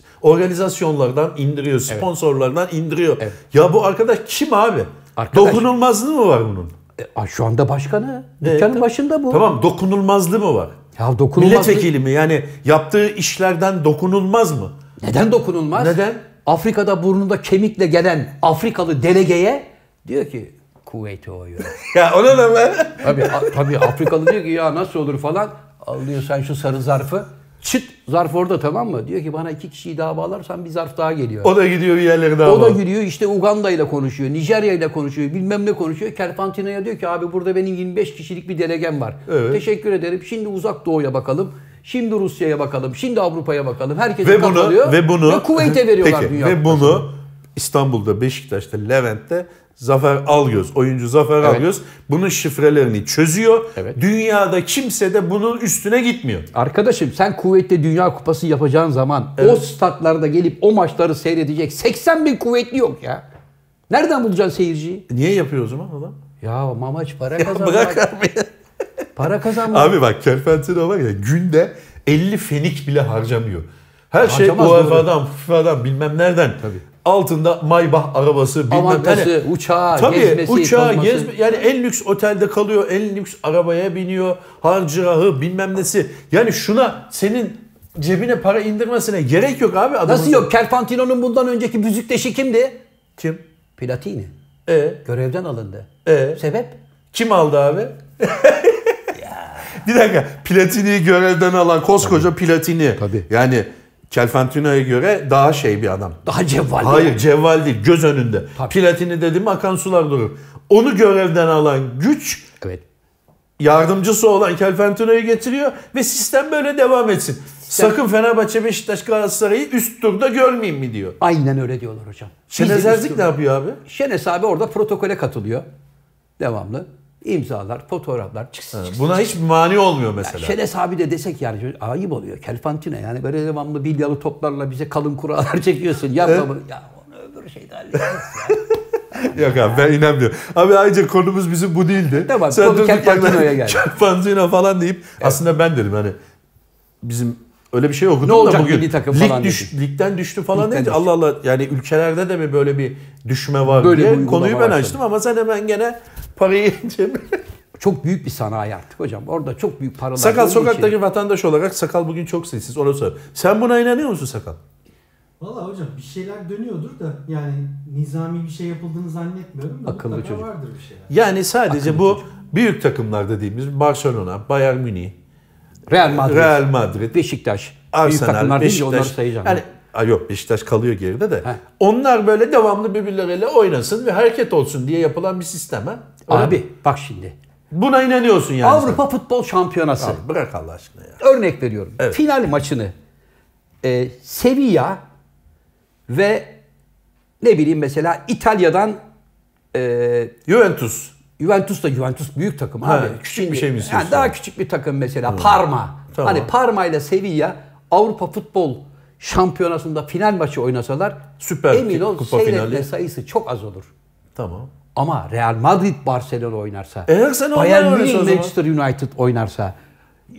organizasyonlardan indiriyor. Sponsorlardan indiriyor. Evet. Ya bu arkadaş kim abi? Arkadaş. Dokunulmazlığı mı var bunun? E, ay, şu anda başkanı. Evet, Dükkanın tabii. başında bu. Tamam dokunulmazlığı mı var? Ya dokunulmaz. Milletvekili mi? Yani yaptığı işlerden dokunulmaz mı? Neden dokunulmaz? Neden? Afrika'da burnunda kemikle gelen Afrikalı delegeye diyor ki Kuveyt'e oyuyor. Ya ona ne be? Tabii, a- tabii Afrikalı diyor ki ya nasıl olur falan. Al diyor sen şu sarı zarfı. Çıt zarf orada tamam mı? Diyor ki bana iki kişiyi daha bağlarsan bir zarf daha geliyor. O, O da gidiyor bir yerlere daha. da bağlı. giriyor işte Uganda ile konuşuyor, Nijerya ile konuşuyor, bilmem ne konuşuyor. Kerpantino'ya diyor ki abi burada benim 25 kişilik bir delegem var. Evet. Teşekkür ederim. Şimdi uzak doğuya bakalım. Şimdi Rusya'ya bakalım. Şimdi Avrupa'ya bakalım. Herkes ve bunu ve bunu Kuveyt'e veriyorlar Peki, Dünya ve Kupası'nı. bunu İstanbul'da, Beşiktaş'ta, Levent'te Zafer Algöz, oyuncu Zafer Algöz bunun şifrelerini çözüyor. Evet. Dünyada kimse de bunun üstüne gitmiyor. Arkadaşım sen Kuveyt'te Dünya Kupası yapacağın zaman o statlarda gelip o maçları seyredecek 80 bin kuvvetli yok ya. Nereden bulacaksın seyirciyi? Niye yapıyor o zaman adam? Ya ama maç para kazanmak. Bırak abi. Para kazanmak. abi bak Kerpentino var ya günde 50 fenik bile harcamıyor. Her şey Harcamaz, doğru. UEFA'dan, FIFA'dan bilmem nereden. Altında Maybach arabası bilmem Avantası, Yani- uçağı, Tabii gezmesi, uçağa tozması. gezme yani en lüks otelde kalıyor, en lüks arabaya biniyor, harcırahı bilmem nesi. Yani şuna senin cebine para indirmesine gerek yok abi adamın. Nasıl yok? Kerpantino'nun bundan önceki büzükleşi kimdi? Kim? Platini. E, Görevden alındı. e. Sebep? Kim aldı abi? (laughs) Bir dakika. Platini'yi görevden alan koskoca Platini. Tabii. Yani Kelfantino'ya göre daha şey bir adam. Daha cevval. Hayır cevval değil göz önünde. Tabii. Platini dedim akan sular durur. Onu görevden alan güç Evet. yardımcısı olan Kelfantino'yu getiriyor ve sistem böyle devam etsin. Sakın Fenerbahçe, Beşiktaş, Galatasaray'ı üst turda görmeyeyim mi diyor. Aynen öyle diyorlar hocam. Biz de Şener Erzik biz- ne yapıyor abi? Şenes abi orada protokole katılıyor. Devamlı. İmzalar, fotoğraflar, çıksın çıksın. Buna hiç mani olmuyor mesela. Şenes abi de desek yani ayıp oluyor. Kelfantine yani böyle devamlı bilyalı toplarla bize kalın kuralar (laughs) çekiyorsun. Yapma bunu. Ya onu öbür şeyde hallederiz ya. Yok abi ben inanmıyorum. Abi ayrıca konumuz bizim bu değildi. Tamam, konu durduk yerden Kelpantino'ya geldi. Kelpantino falan deyip aslında ben dedim hani bizim öyle bir şey okudum Ne olacak da bugün milli takım lig falan düş- ligden düştü falan Ligden deyince düştü. Allah Allah yani ülkelerde de mi böyle bir düşme var Böyle bir diye uygulama konuyu ben başladı. açtım ama sen hemen gene parayı (laughs) cebine (laughs) Çok büyük bir sanayi artık hocam. Orada çok büyük paralar. Sakal olduğu için- sokaktaki vatandaş olarak sakal bugün çok sessiz. Ona sor. Sen buna inanıyor musun sakal? Valla hocam bir şeyler dönüyordur da yani nizami bir şey yapıldığını zannetmiyorum da Akıllı mutlaka çocuk. vardır bir şeyler. Yani sadece bu büyük takımlar dediğimiz Barcelona, Bayern Münih, Real Madrid, Real Madrid, Beşiktaş, büyük Arsenal, takımlar değil de onları Beşiktaş. sayacağım. Yani Ay yok Beşiktaş kalıyor geride de. Heh. Onlar böyle devamlı birbirleriyle oynasın ve hareket olsun diye yapılan bir sistem ha. Öyle mi? Abi bak şimdi. buna inanıyorsun yani. Avrupa Futbol Şampiyonası. sen. Abi bırak Allah aşkına ya. Örnek veriyorum. Evet. Final maçını e, Sevilla ve ne bileyim mesela İtalya'dan e, Juventus. Juventus da Juventus büyük takım Ha, abi. küçük bir şey mi istiyorsun? yani daha küçük bir takım mesela Parma. Tamam. Hani Parma ile Sevilla Avrupa Futbol Şampiyonası'nda final maçı oynasalar Süper emin ol Kupa seyretme finali. sayısı çok az olur. Tamam. Ama Real Madrid Barcelona oynarsa, E, her sene Bayern onlar oynasa o Münih zaman. Manchester United oynarsa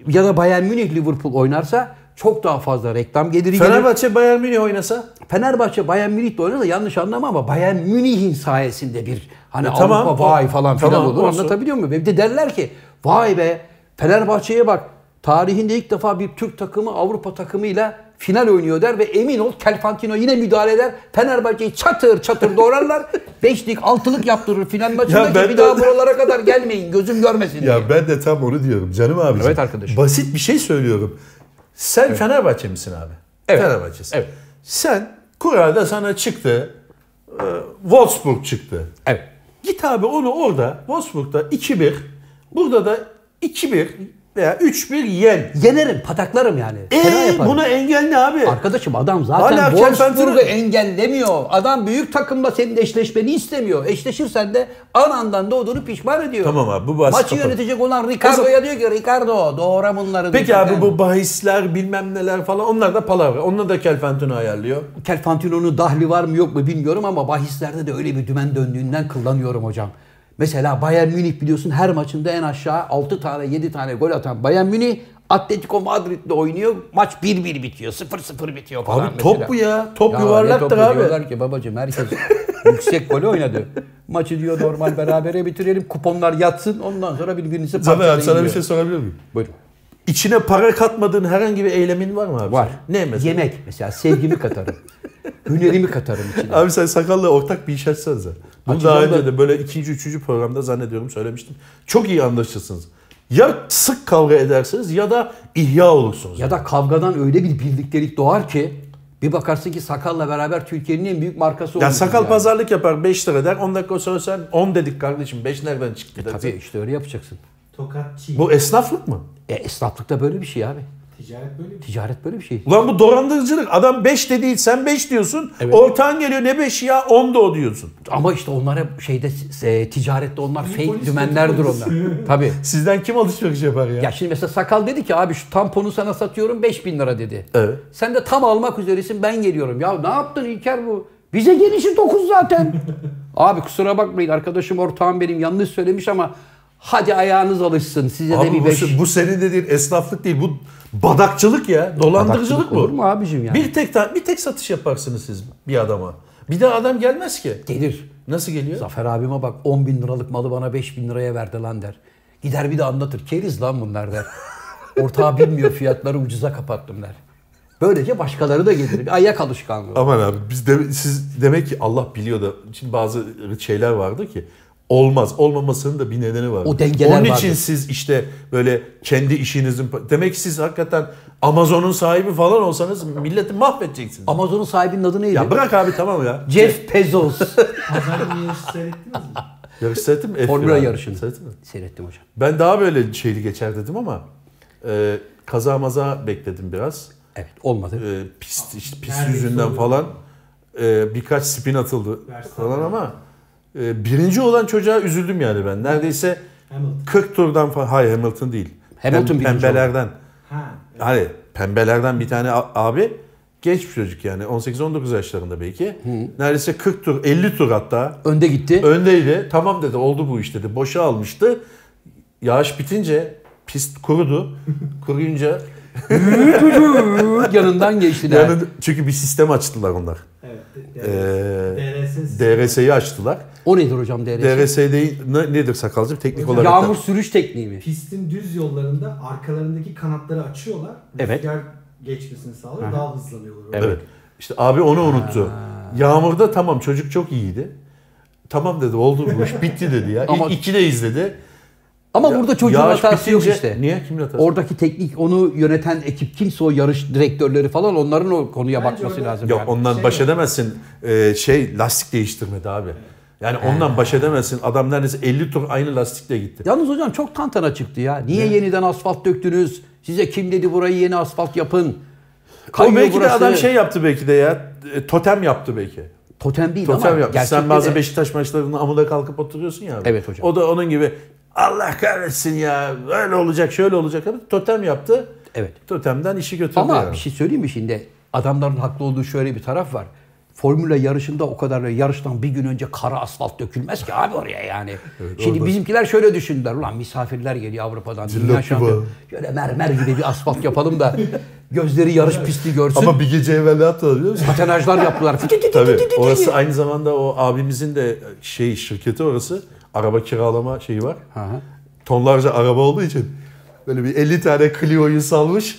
ya da Bayern Münih Liverpool oynarsa çok daha fazla reklam geliri gelir. Fenerbahçe Bayern Münih oynasa Fenerbahçe Bayern Münih'le oynarsa yanlış anlama ama Bayern Münih'in sayesinde bir hani E, Avrupa tamam, vay o- falan filan tamam, olur. olsun. Anlatabiliyor muyum? Bir de derler ki vay be Fenerbahçe'ye bak tarihinde ilk defa bir Türk takımı Avrupa takımıyla final oynuyor der ve emin ol Kelfantino yine müdahale eder. Fenerbahçe'yi çatır çatır (laughs) doğrarlar. Beşlik, altılık yaptırır final maçında ki ben bir de- daha buralara kadar gelmeyin. Gözüm görmesin diye. Ya ben de tam onu diyorum canım abiciğim. Evet arkadaşım. Basit bir şey söylüyorum. Sen Fenerbahçe misin abi? Evet. Fenerbahçesin. Evet. Sen kurada sana çıktı. e, Wolfsburg çıktı. Evet. Git abi onu orada Wolfsburg'da 2-1. Burada da 2-1 veya 3-1 yen. Yenerim, pataklarım yani. Fena Eee yaparım. Ee, buna engel ne abi? Arkadaşım adam zaten Hala Wolfsburg'u Kempenter'ı- engellemiyor. Adam büyük takımla senin eşleşmeni istemiyor. Eşleşirsen de anandan doğduğunu pişman ediyor. Tamam abi, bu bahsi Maçı kapat. yönetecek olan Ricardo'ya diyor ki Ricardo doğra bunları. Peki diyor. abi Ben- bu bahisler bilmem neler falan onlar da palavra. Onlar da Kelfenton'u ayarlıyor. Kelfantino'nun dahli var mı yok mu bilmiyorum ama bahislerde de öyle bir dümen döndüğünden kullanıyorum hocam. Mesela Bayern Münih biliyorsun her maçında en aşağı 6 tane 7 tane gol atan Bayern Münih Atletico Madrid'le oynuyor. Maç 1-1 bitiyor. 0-0 bitiyor falan Abi mesela. top bu ya. Top Ya ne yuvarlaktır topu abi. Diyorlar ki babacığım (laughs) herkes yüksek golü oynadı. Maçı diyor normal berabere bitirelim. Kuponlar yatsın ondan sonra birbirinizi Zafer parçalayın abi sana bir diyor. şey sorabilir miyim? Buyurun. İçine para katmadığın herhangi bir eylemin var mı abi? Var. Ne mesela? Yemek mesela sevgimi katarım. Hünerimi katarım içine. Abi sen sakalla ortak bir iş açsanıza. Bunu Açacağım daha önce da- de böyle ikinci, üçüncü programda zannediyorum söylemiştim. Çok iyi anlaşırsınız. Ya sık kavga edersiniz ya da ihya olursunuz. Ya da kavgadan öyle bir birliktelik doğar ki bir bakarsın ki sakalla beraber Türkiye'nin en büyük markası Ya olmuşuz sakal yani. pazarlık yapar 5 lira der 10 dakika sonra sen 10 dedik kardeşim 5 nereden çıktı dersin. E, Tabii işte öyle yapacaksın. Tokatçı. Bu esnaflık mı? E, esnaflıkta böyle bir şey abi. Ticaret böyle bir şey. Ticaret böyle bir şey. Ulan bu dolandırıcılık. Adam 5 dedi sen 5 diyorsun. Evet. Ortağın geliyor ne 5 ya 10 da o diyorsun. Ama işte onlar hep şeyde e, ticarette onlar fake polis dümenlerdir polis. onlar. Tabii. Sizden kim alışveriş yapar ya? Ya şimdi mesela sakal dedi ki abi şu tamponu sana satıyorum 5000 lira dedi. Evet. Sen de tam almak üzeresin ben geliyorum. Ya ne yaptın İlker bu? Bize gelişi 9 (laughs) zaten. abi kusura bakmayın arkadaşım ortağım benim yanlış söylemiş ama hadi ayağınız alışsın size de Abi bir bu, 5. bu senin dediğin esnaflık değil. Bu badakçılık ya. Dolandırıcılık bu. Olur mu abicim yani? Bir tek ta- bir tek satış yaparsınız siz bir adama. Bir de adam gelmez ki. Gelir. Nasıl geliyor? Zafer abime bak 10 bin liralık malı bana 5 bin liraya verdi lan der. Gider bir de anlatır. Keriz lan bunlar der. Ortağı bilmiyor fiyatları ucuza kapattım der. Böylece başkaları da gelir. Bir ayak alışkanlığı. Aman abi biz de, siz demek ki Allah biliyor da şimdi bazı şeyler vardı ki olmaz. Olmamasının da bir nedeni var. O dengeler Onun için vardır. siz işte böyle kendi işinizin demek ki siz hakikaten Amazon'un sahibi falan olsanız milleti mahvedeceksiniz. Amazon'un sahibinin adı neydi? Ya bırak abi tamam ya. Jeff Bezos. (laughs) şey. Pazar günü yarışı seyrettiniz mi? Yarış seyrettin mi? Formula F1 yarışını. Seyrettin mi? Seyrettim hocam. Ben daha böyle şeyli geçer dedim ama e, kaza maza bekledim biraz. Evet olmadı. E, pist işte pist Neredeyse yüzünden oldu. falan e, birkaç spin atıldı Verstappen. falan ama e, birinci olan çocuğa üzüldüm yani ben. Neredeyse Hamilton. 40 turdan falan. Hayır Hamilton değil. Hamilton birinci pembelerden. Ha. Hani pembelerden bir tane a- abi genç bir çocuk yani 18-19 yaşlarında belki. Neredeyse 40 tur 50 tur hatta Önde gitti. (laughs) Öndeydi. Tamam dedi oldu bu iş dedi. Boşa almıştı. Yağış bitince pist kurudu. Kuruyunca Yanından geçti. der. yani çünkü bir sistem açtılar onlar. Evet. Ee, DRS'siz. DRS'yi açtılar. O nedir hocam DRS? DRS değil, ne- nedir sakalcım teknik olarak? da- Yağmur sürüş tekniği mi? pistin düz yollarında arkalarındaki kanatları açıyorlar. Evet. Rüzgar geçmesini sağlıyor. Daha hızlanıyorlar. orada. Evet. İşte abi onu unuttu. Yağmurda tamam çocuk çok iyiydi. Tamam dedi oldu bu iş bitti dedi ya. Ama- Ama, İlk iki de izledi. Ama burada çocuğun Yağış hatası yok bitince- işte. Niye? Kimin hatası? Oradaki teknik onu yöneten ekip kimse o yarış direktörleri falan onların o konuya Bence bakması öyle. lazım. Yok yani. ondan Şey baş yok. edemezsin. Ee, şey lastik değiştirmedi abi. Yani ondan baş edemezsin. Adam neredeyse 50 tur aynı lastikle gitti. Yalnız hocam çok tantana çıktı ya. Niye yeniden asfalt döktünüz? Size kim dedi burayı yeni asfalt yapın? o Kayıyor belki burası. de adam şey yaptı belki de ya. e, Totem yaptı belki. totem değil Totem ama yaptı. gerçekte Sen bazı de- Beşiktaş maçlarında amuda kalkıp oturuyorsun ya. abi. Evet hocam. O da onun gibi Allah kahretsin ya öyle olacak şöyle olacak. Abi, Totem yaptı. Evet. Totemden işi götürdü Ama yani. bir şey söyleyeyim mi şimdi? Adamların haklı olduğu şöyle bir taraf var. Formula yarışında o kadar yarıştan bir gün önce kara asfalt dökülmez ki abi oraya (laughs) yani. Şimdi orada. bizimkiler şöyle düşündüler. Ulan misafirler geliyor Avrupa'dan. Cillop Dünya gibi. şampiyonu. Şöyle mermer gibi bir asfalt yapalım (laughs) da gözleri yarış pisti görsün. Ama bir gece evvel ne yaptılar biliyor musun? (laughs) Patenajlar yaptılar. (laughs) Tabii orası aynı zamanda o abimizin de şey şirketi orası. Araba kiralama şeyi var. Hı hı. Tonlarca araba olduğu için böyle bir 50 tane Clio'yu (laughs) salmış.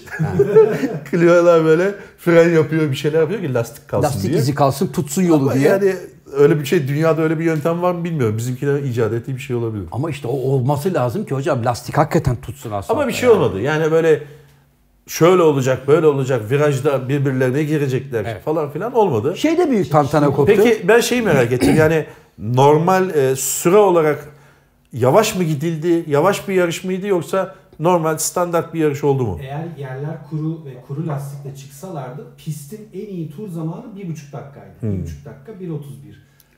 Clio'lar böyle fren yapıyor bir şeyler yapıyor ki lastik kalsın Lastik diye. izi kalsın tutsun yolu Ama diye. Yani öyle bir şey dünyada öyle bir yöntem var mı bilmiyorum. Bizimkiler icat ettiği bir şey olabilir. Ama işte o olması lazım ki hocam lastik hakikaten tutsun aslında. Ama bir şey olmadı. Yani böyle şöyle olacak, böyle olacak, virajda birbirlerine girecekler Evet. falan filan olmadı. Şey de büyük tantana koptu. Peki ben şeyi merak ettim. Yani normal e, süre olarak yavaş mı gidildi? Yavaş bir yarış mıydı yoksa normal standart bir yarış oldu mu? Eğer yerler kuru ve kuru lastikle çıksalardı pistin en iyi tur zamanı 1,5 dakikaydı. 1,5 dakika 1.31. Hmm.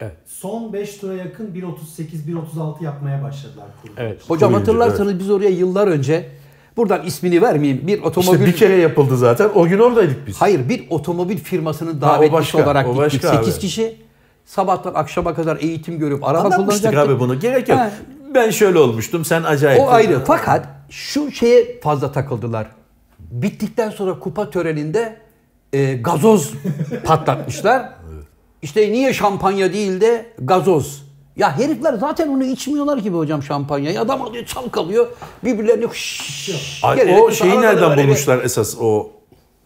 Evet. Son 5 tura yakın 1.38-1.36 yapmaya başladılar kuru. Evet. Hocam Koruyucu, hatırlarsanız biz oraya yıllar önce buradan ismini vermeyeyim bir otomobil İşte bir kere yapıldı zaten. O gün oradaydık biz. Hayır bir otomobil firmasının Ha, o davetlisi başka, olarak o gittik. başka 8 abi. kişi sabahtan akşama kadar eğitim görüp araba Anlatmıştık kullanacaktık. abi bunu. Gerek yok. Ha. Ben şöyle olmuştum. Sen acayip. O ayrı. Fakat şu şeye fazla takıldılar. Bittikten sonra kupa töreninde e, (laughs) gazoz patlatmışlar. İşte niye şampanya değil de gazoz. Ya herifler zaten onu içmiyorlar gibi hocam şampanyayı. Adam alıyor çalkalıyor. Birbirlerini şşş. Ay, gelerek o şeyi arada nereden böyle bir- bulmuşlar esas o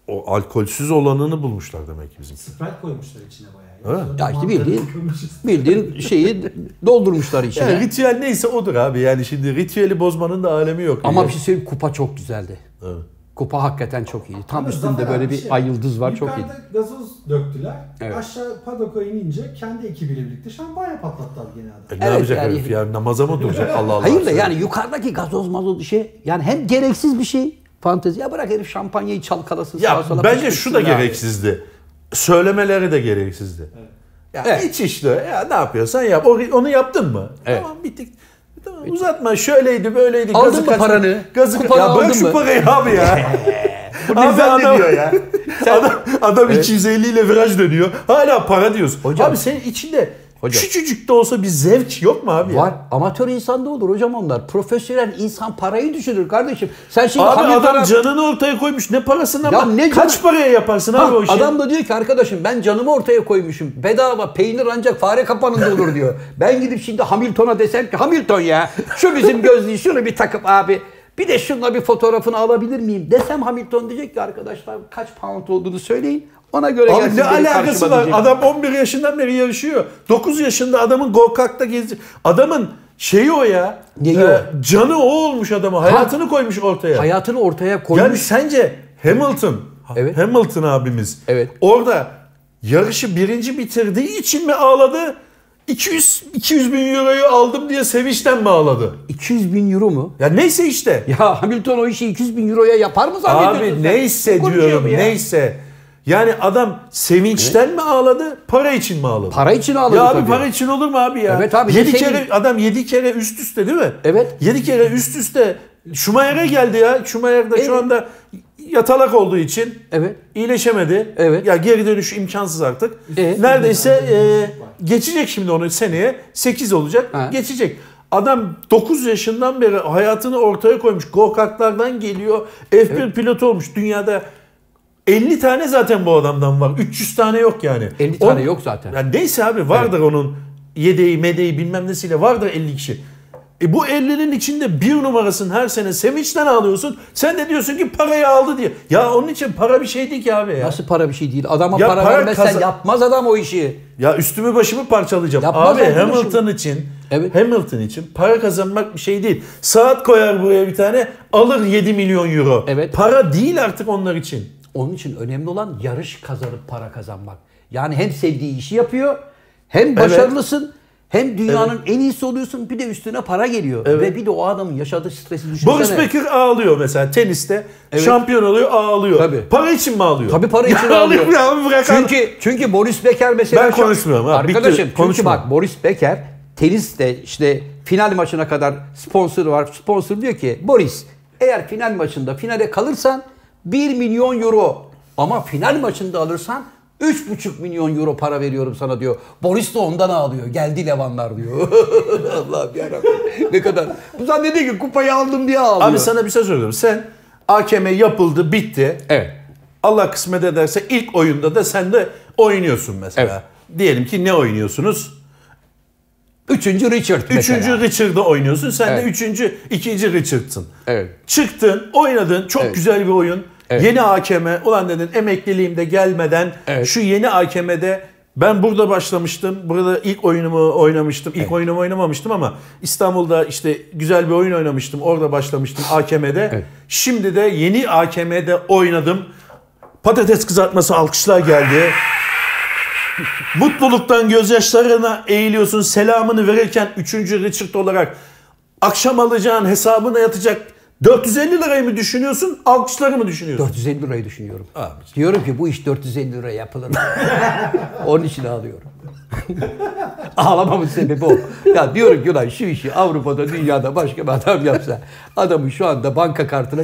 o alkolsüz olanını bulmuşlar demek ki bizim. Sprite koymuşlar içine bayağı. Öyle mi? Ya işte Mantarını bildiğin, koymuşuz. bildiğin şeyi doldurmuşlar içine. Yani ritüel neyse odur abi. Yani şimdi ritüeli bozmanın da alemi yok. Ama Yani. bir şey söyleyeyim kupa çok güzeldi. Evet. Kupa hakikaten çok iyiydi. Tam Ama üstünde Zafer böyle abi bir şey, ay yıldız var çok iyiydi. Yukarıda gazoz döktüler. Evet. Aşağı padoka inince kendi ekibiyle birlikte şampanya patlattılar gene adam. E, ne şey- Evet, yapacak yani- herif ya? Namaza mı duracak Allah Allah? Hayır da yani yukarıdaki gazoz mazoz şey yani hem gereksiz bir şey fantezi. Ya bırak herif şampanyayı çalkalasın sağa sola. Ya bence pışkırsın şu da abi. gereksizdi. Söylemeleri de gereksizdi. Ya Evet. iç işte. Ya ne yapıyorsan yap. O- Onu yaptın mı? Evet. Tamam bittik. Tamam, uzatma şöyleydi böyleydi. Aldın Gazı mı kaçma- paranı? Gazı Kupanı ya aldın bırak şu mı? parayı abi (laughs) ya. Bu ne zannediyor ya? (laughs) adam adam 250 ile viraj dönüyor. Hala para diyorsun. abi senin içinde Hocam. küçücük de olsa bir zevk yok mu abi? ya? Var. Amatör insan da olur hocam onlar. Profesyonel insan parayı düşünür kardeşim. Sen şimdi Abi Hamilton'a- adam canını ortaya koymuş. Ne parasından Ya bak- ne Kaç canı- paraya yaparsın Ha, abi o işi? adam da diyor ki arkadaşım ben canımı ortaya koymuşum. Bedava peynir ancak fare kapanında olur diyor. (laughs) ben gidip şimdi Hamilton'a desem ki Hamilton ya şu bizim gözlüğü şunu bir takıp abi bir de şunla bir fotoğrafını alabilir miyim desem Hamilton diyecek ki arkadaşlar kaç pound olduğunu söyleyin. Ona göre Abi gelsin ne benim alakası karşıma var? diyecek. Adam 11 yaşından beri yarışıyor. 9 yaşında adamın go-kart'ta gezi. Adamın şeyi o ya. Ee, Neyi o? Canı o olmuş adama. Hayatını koymuş ortaya. Hayatını ortaya koymuş. yani sence Hamilton, Evet. Hamilton abimiz Evet. orada yarışı birinci bitirdiği için mi ağladı? 200 200 bin euroyu aldım diye sevinçten mi ağladı? 200 bin euro mu? Ya neyse işte. Ya Hamilton o işi 200 bin euroya yapar mı zannediyorsun Abi sen? neyse Konuşuyor bu diyorum ya. neyse. Yani adam sevinçten mi ağladı, para için mi ağladı? Para için ağladı Ya abi tabii. para için olur mu abi ya? Evet abi, 7 şey- kere adam 7 kere üst üste değil mi? Evet. 7 kere üst üste Schumacher'e geldi ya. Schumacher de Evet. şu anda yatalak olduğu için Evet. iyileşemedi. Evet. Ya geri dönüş imkansız artık. E? Neredeyse Üst üste e, var. geçecek şimdi onu seneye 8 olacak. Ha. Geçecek. Adam 9 yaşından beri hayatını ortaya koymuş. Go-kartlardan geliyor. F1 pilotu olmuş dünyada. 50 tane zaten bu adamdan var. 300 tane yok yani. 50 tane O- yok zaten. ya neyse abi vardır onun yedeği medeği bilmem nesiyle vardır 50 kişi. E bu 50'nin içinde bir numarasın her sene sevinçten ağlıyorsun. Sen de diyorsun ki parayı aldı diye. Ya onun için para bir şey değil ki abi ya. Nasıl para bir şey değil? Adama Ya para, para vermezsen kazan- yapmaz adam o işi. Ya üstümü başımı parçalayacağım. Yapmaz abi arkadaşım. Hamilton için Evet. Hamilton için para kazanmak bir şey değil. Saat koyar buraya bir tane alır 7 milyon euro. Evet. Para değil artık onlar için. Onun için önemli olan yarış kazanıp para kazanmak. Yani hem sevdiği işi yapıyor, hem başarılısın, hem dünyanın en iyisi oluyorsun, bir de üstüne para geliyor. Ve bir de o adamın yaşadığı stresi düşünsene. Boris Becker ağlıyor mesela teniste. Şampiyon oluyor ağlıyor. Tabii. Para için mi ağlıyor? Tabii para için (laughs) Ya ağlıyor. Ya, bırak Çünkü çünkü Boris Becker mesela Ben şu- konuşmuyorum ha, bitti, Arkadaşım çünkü konuşma. bak Boris Becker teniste işte final maçına kadar sponsor var. Sponsor diyor ki Boris eğer final maçında finale kalırsan 1 milyon euro ama final maçında alırsan 3,5 milyon euro para veriyorum sana diyor. Boris de ondan ağlıyor. Geldi Levanlar diyor. (laughs) Allah'ım yarabbim. ne kadar. Bu zannediyor ki kupayı aldım diye ağlıyor. Abi sana bir şey söylüyorum. Sen AKM yapıldı, bitti. Evet. Allah kısmet ederse ilk oyunda da sen de oynuyorsun mesela. Diyelim ki ne oynuyorsunuz? Üçüncü Richard mesela. Üçüncü Richard'ı oynuyorsun. Sen de Evet. üçüncü, ikinci Richard'sın. Evet. Çıktın, oynadın. Çok Evet. güzel bir oyun. Evet. Yeni hakeme, ulan dedin emekliliğimde gelmeden Evet. şu yeni hakemede ben burada başlamıştım. Burada ilk oyunumu oynamıştım. İlk oyunumu oynamamıştım ama İstanbul'da işte güzel bir oyun oynamıştım. Orada başlamıştım AKM'de. Evet. Şimdi de yeni AKM'de oynadım. Patates kızartması alkışlar geldi. Mutluluktan gözyaşlarına eğiliyorsun. Selamını verirken 3. Richard olarak akşam alacağın hesabına yatacak 450 lirayı mı düşünüyorsun, alkışları mı düşünüyorsun? 450 lirayı düşünüyorum. Abi. Diyorum ki bu iş 450 lira yapılır. (laughs) mı? Onun için ağlıyorum. Ağlamamın sebebi o. Ya diyorum ki ulan şu işi Avrupa'da dünyada başka bir adam yapsa adamın şu anda banka kartına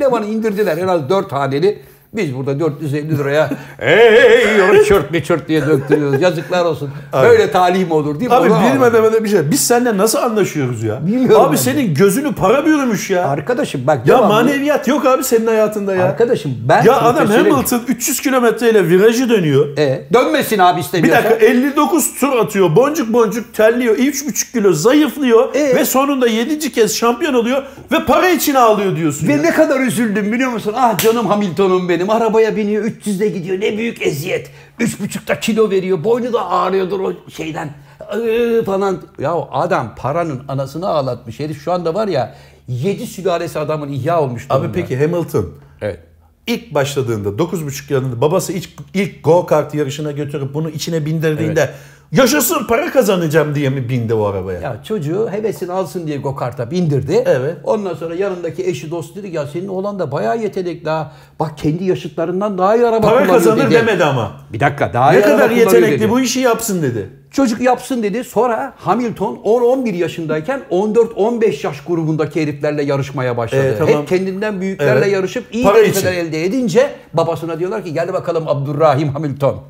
Levan'ı indirdiler en az 4 haneli. Biz burada 450 liraya ey onu çört mi çört diye döktürüyoruz. Yazıklar olsun. Böyle talih mi olur değil mi? Abi Onu ağlıyorum. bilmeden öyle bir şey. Biz seninle nasıl anlaşıyoruz ya? Bilmiyorum abi ben de. senin gözünü para bürümüş ya. Arkadaşım bak ya devamlı- maneviyat yok abi senin hayatında ya. Arkadaşım ben ya adam profesyonelim. Hamilton 300 kilometreyle virajı dönüyor. E, dönmesin abi Bir istemiyorsan. dakika 59 tur atıyor. Boncuk boncuk terliyor. 3,5 kilo zayıflıyor. Ee? Ve sonunda 7. kez şampiyon oluyor. Ve para için ağlıyor diyorsun. ya. Ve ne kadar üzüldüm biliyor musun? Ah canım Hamilton'um benim. Arabaya biniyor 300'de gidiyor. Ne büyük eziyet. 3,5'ta kilo veriyor. Boynu da ağrıyordur o şeyden. Iıı falan. Ya adam paranın anasını ağlatmış herif. Şu anda var ya 7 sülalesi adamın ihya olmuş Abi durumda. peki Hamilton Evet. ilk başladığında 9,5 yılında babası ilk, ilk go kart yarışına götürüp bunu içine bindirdiğinde yaşasın para kazanacağım diye mi bindi o arabaya? Ya çocuğu hevesini alsın diye gokarta bindirdi. Evet. Ondan sonra yanındaki eşi dostu dedi ki, ya senin oğlan da bayağı yetenekli ha. Bak kendi yaşıtlarından daha iyi araba para kullanıyor kazanır dedi. demedi ama. Bir dakika daha iyi Ne araba kadar kullanıyor yetenekli dedi. bu işi yapsın dedi. Çocuk yapsın dedi. Sonra Hamilton 10-11 yaşındayken 14-15 yaş grubundaki heriflerle yarışmaya başladı. Ee, tamam. Hep kendinden büyüklerle Evet. yarışıp iyi Para dereceler için. elde edince babasına diyorlar ki gel bakalım Abdurrahim Hamilton.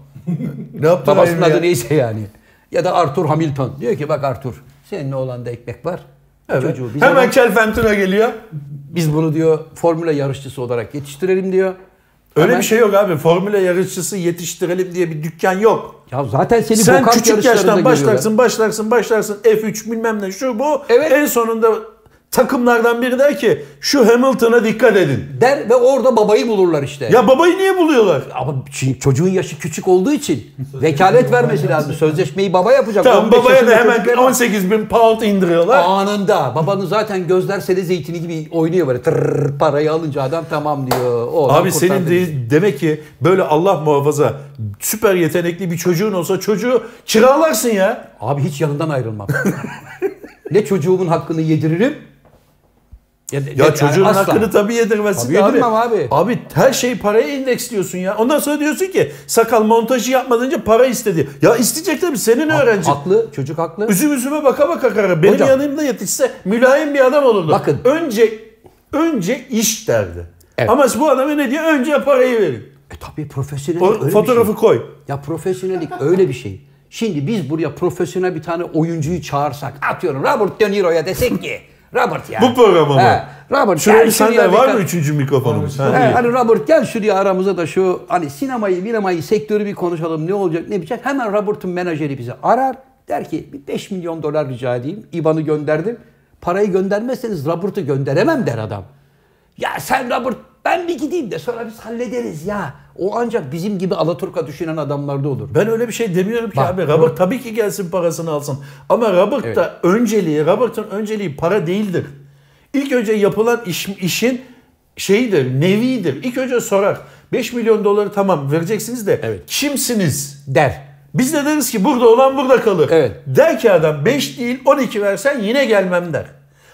Ne yaptı Babasının Rahim ya? adı neyse yani. Ya da Arthur Hamilton. Diyor ki bak Arthur senin oğlanda ekmek var. Evet. Çocuğu biz, Hemen ona- Kel Fenton'a geliyor. biz bunu diyor formüle yarışçısı olarak yetiştirelim diyor. Öyle Hemen- bir şey yok abi. Formüle yarışçısı yetiştirelim diye bir dükkan yok. Ya zaten seni Sen go-kart küçük Hani yarışlarında yaştan görüyorlar. başlarsın, başlarsın, başlarsın. F3 bilmem ne şu bu. Evet. En sonunda takımlardan biri der ki şu Hamilton'a dikkat edin. Der ve orada babayı bulurlar işte. Ya babayı niye buluyorlar? Ama çünkü çocuğun yaşı küçük olduğu için vekalet vermesi lazım. Sözleşmeyi baba yapacak. Tamam 15 babaya da yaşında hemen çocuklara- 18 bin pound indiriyorlar. Anında. Babanın zaten gözler sene zeytini gibi oynuyor böyle. Tırrrr, parayı alınca adam tamam diyor. O adam Abi senin kurtardı bizi. de, demek ki böyle Allah muhafaza süper yetenekli bir çocuğun olsa çocuğu kiralarsın ya. Abi hiç yanından (laughs) ayrılmam. ne çocuğumun hakkını yediririm. Ya, Ya çocuğun asla. hakkını tabii yedirmesin Tabii de abi. yedirmem abi. Abi her şeyi paraya endeksliyorsun ya. Ondan sonra diyorsun ki sakal montajı yapmadan önce para istedi. Ya isteyecek tabii senin öğrencin. Haklı. Çocuk haklı. Üzüm üzüme baka baka karar. Benim Hocam. yanımda yetişse mülayim bir adam olurdu. Bakın. Önce önce iş derdi. Evet. Ama bu adama ne diyor? Önce parayı verin. E tabii profesyonel. O öyle bir şey. fotoğrafı koy. Ya profesyonellik öyle bir şey. Şimdi biz buraya profesyonel bir tane oyuncuyu çağırsak, atıyorum Robert De Niro'ya desek ki, Robert ya. Bu programa mı? He, Robert Şuraya gel bir sandalye bir var tane- mı üçüncü mikrofonumuz? Ha, He, iyi. hani Robert gel şuraya aramıza da şu hani sinemayı, minemayı, sektörü bir konuşalım ne olacak ne bitecek. Hemen Robert'ın menajeri bizi arar. Der ki bir 5 milyon dolar rica edeyim. IBAN'ı gönderdim. Parayı göndermezseniz Robert'ı gönderemem der adam. Ya sen Robert ben bir gideyim de sonra biz hallederiz ya. O ancak bizim gibi Alaturka düşünen adamlarda olur. Ben öyle bir şey demiyorum ki Bak, abi. Robert tabii ki gelsin parasını alsın. Ama Robert da önceliği, Robert'ın önceliği para değildir. İlk önce yapılan iş- işin şeyidir, nevidir. İlk önce sorar. 5 milyon doları tamam vereceksiniz de Evet. kimsiniz? Der. Biz de deriz ki burada olan burada kalır. Evet. Der ki adam 5 değil 12 versen yine gelmem der.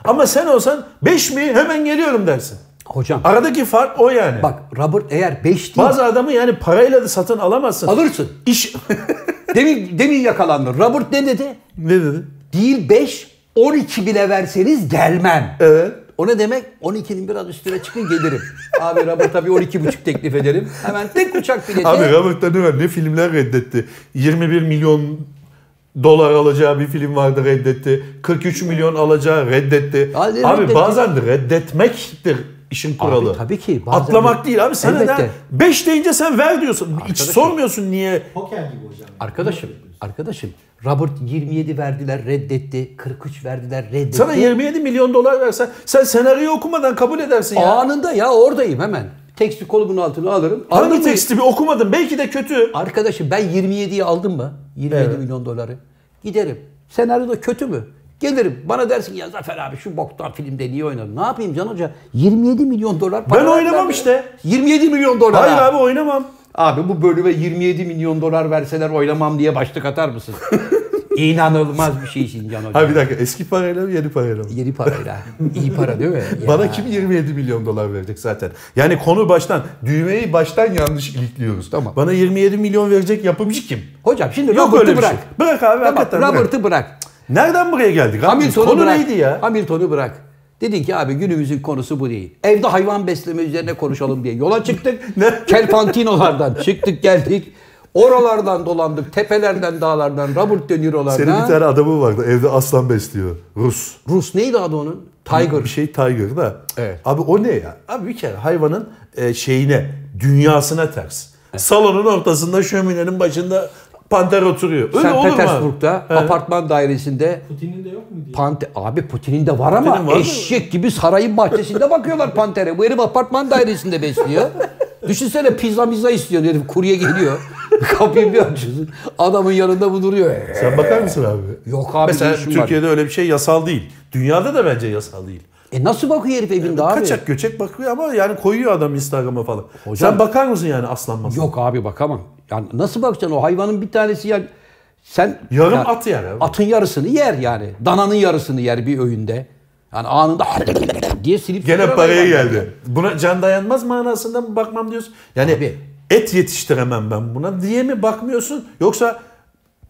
Ama sen olsan 5 mi hemen geliyorum dersin. Hocam Aradaki fark o yani. bak Robert eğer 5 değil Bazı adamı yani parayla da satın alamazsın. alırsın. İş... (laughs) Demin, demin yakalandı. Robert ne dedi? ne dedi? Değil 5, 12 bile verseniz gelmem. Evet. O ne demek? 12'nin biraz üstüne çıkın gelirim. Abi Robert'a bir 12,5 teklif ederim. Hemen tek uçak bileti. Abi Robert De Niro ne filmler reddetti. 21 milyon dolar alacağı bir film vardı reddetti. 43 milyon alacağı reddetti. Hadi abi reddetti. bazen de reddetmektir işin kuralı. tabii ki, bazen Atlamak de- değil abi sana Elbette. da 5 deyince sen ver diyorsun. Hiç sormuyorsun niye. Poker gibi hocam. Arkadaşım, arkadaşım. Robert 27 verdiler reddetti. 43 verdiler reddetti. Sana 27 milyon dolar versen sen senaryo okumadan kabul edersin ya. Anında ya oradayım hemen. Teksti kolumun altına alırım. Anladın Hangi mı? teksti bir okumadın belki de kötü. Arkadaşım ben 27'yi aldım mı? 27 Evet. milyon doları. Giderim. Senaryo da kötü mü? Gelirim. Bana dersin ki, ya Zafer abi şu boktan filmde niye oynadın? Ne yapayım Can Hoca? 27 milyon dolar para Ben oynamam verdiler. işte. 27 milyon dolar. Hayır abi oynamam. (laughs) Abi bu bölüme 27 milyon dolar verseler oynamam diye başlık atar mısın? İnanılmaz bir şey Sincan Hocam. Ha bir dakika eski parayla mı yeni parayla mı? Yeni parayla. İyi para değil mi? Ya. Bana kim 27 milyon dolar verecek zaten? Yani konu baştan, düğmeyi baştan yanlış ilikliyoruz. Tamam. Bana 27 milyon verecek yapımcı kim? Hocam şimdi Yok Robert'ı öyle bir bırak. şey. Bırak abi Tamam, hakikaten bırak. Robert'ı bırak. Nereden buraya geldik? abi? Hamilton'u Konu bırak. neydi ya? Hamilton'u bırak. Dedin ki abi günümüzün konusu bu değil. Evde hayvan besleme üzerine konuşalım diye yola çıktık. (laughs) Ne? Kelpantinolardan çıktık geldik. Oralardan dolandık. Tepelerden, dağlardan, Robert De Niro'lardan. Senin bir tane adamı vardı evde aslan besliyor. Rus. Rus neydi adı onun? Tiger. Bir şey Tiger da. Evet. Abi o ne ya? Abi bir kere hayvanın e, şeyine, dünyasına ters. Salonun ortasında şöminenin başında panter oturuyor. Öyle Sen olur mu? abi? Petersburg'da He. apartman dairesinde Putin'in de yok mu diye. Pante abi Putin'in de var ama Putin'in var mı? eşek gibi sarayın bahçesinde bakıyorlar pantere. Bu herif apartman dairesinde besliyor. Düşünsene pizza mizza istiyor herif kurye geliyor. (laughs) Kapıyı bir açıyorsun. Adamın yanında bu duruyor. Sen bakar mısın abi? Yok abi Mesela ne işim var? Türkiye'de öyle bir şey yasal değil. Dünyada da bence yasal değil. E nasıl bakıyor herif evinde abi? Kaçak göçek bakıyor ama yani koyuyor adam Instagram'a falan. Hocam- Sen bakar mısın yani aslan maslan? Yok abi bakamam. Yani nasıl bakacaksın o hayvanın bir tanesi ya sen Yarım ya- at yer abi. Atın yarısını yer yani. Dananın yarısını yer bir öğünde. Yani anında (laughs) diye silip Gene süpüren paraya hayvan. geldi. Buna can dayanmaz manasında mı bakmam diyorsun? Yani Abi. et yetiştiremem ben buna diye mi bakmıyorsun? Yoksa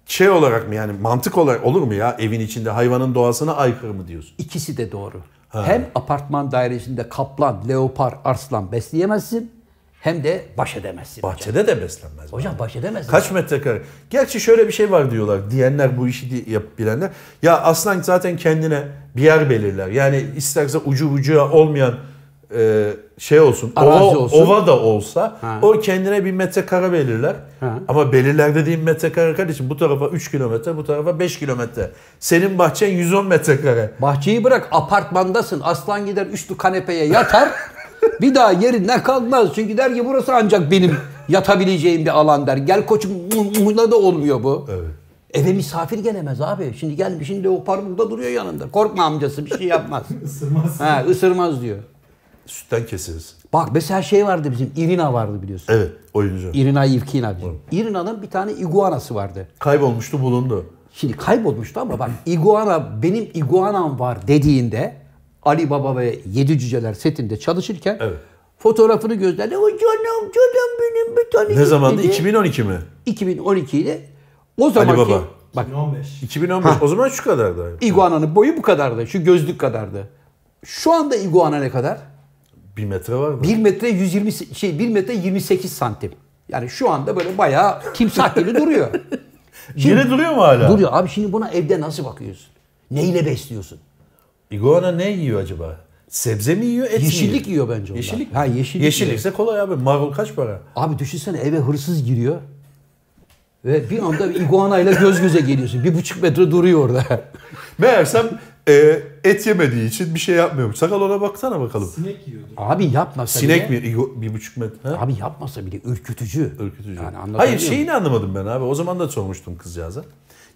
şey olarak mı yani mantık olarak olur mu ya evin içinde hayvanın doğasına aykırı mı diyorsun? İkisi de doğru. Hem apartman dairesinde kaplan, leopar, arslan besleyemezsin hem de baş edemezsin. Bahçede de beslenmez. Hocam baş edemezsin. Kaç metrekare? Gerçi şöyle bir şey var diyorlar diyenler bu işi di- yap bilenler. Ya aslan zaten kendine bir yer belirler. Yani isterse ucu bucağı olmayan e, şey olsun, Arazi ova, olsun. ova da olsa Ha. o kendine bir metrekare belirler. Ama belirler dediğim metrekare kardeşim bu tarafa 3 kilometre, bu tarafa 5 kilometre. Senin bahçen 110 metrekare. Bahçeyi bırak apartmandasın. Aslan gider üçlü kanepeye yatar. bir daha yerinden kalkmaz. Çünkü der ki burası ancak benim yatabileceğim bir alan der. Gel koçum muhla da olmuyor bu. Eve misafir gelemez abi. Şimdi gelmiş şimdi leopar burada duruyor yanında. Korkma amcası bir şey yapmaz. Isırmaz. ha, ısırmaz diyor. Sütten keseriz. Bak mesela şey vardı bizim Irina vardı biliyorsun. Evet, oyuncu. Irina Ivkina diyor. Irina'nın bir tane iguanası vardı. Kaybolmuştu, bulundu. Şimdi kaybolmuştu ama bak iguana benim iguanam var dediğinde Ali Baba ve Yedi Cüceler setinde çalışırken Evet. fotoğrafını gözlerle o canım canım benim bir tane Ne zamandı? dedi. 2012 mi? 2012 ile o zamanki Baba. bak 2015. 2015. O zaman şu kadardı. iguananın boyu bu kadardı. Şu gözlük kadardı. Şu anda iguana ne kadar? Bir metre var mı? 1 metre 120 se- şey 1 metre 28 santim. Yani şu anda böyle bayağı timsah gibi (laughs) duruyor. Yine duruyor mu hala? Duruyor. Abi şimdi buna evde nasıl bakıyorsun? Neyle besliyorsun? İguana ne yiyor acaba? Sebze mi yiyor, et mi Yeşillik yiyor bence onlar. Yeşillik mi? Ha, yeşillik yiyor. Yeşillikse kolay abi. Marul kaç para? Abi düşünsene eve hırsız giriyor. Ve bir anda bir iguanayla göz göze geliyorsun. Bir buçuk metre duruyor orada. (laughs) Meğersem e, et yemediği için bir şey yapmıyormuş. Sakal ona baksana bakalım. Sinek yiyordu. Abi yapmasa bile. Sinek mi? İgu- bir buçuk metre. Ha? Abi yapmasa bile ürkütücü. Ürkütücü. Yani anlatabiliyor Hayır şey- muyum? şeyini anlamadım ben abi. O zaman da sormuştum kızcağıza.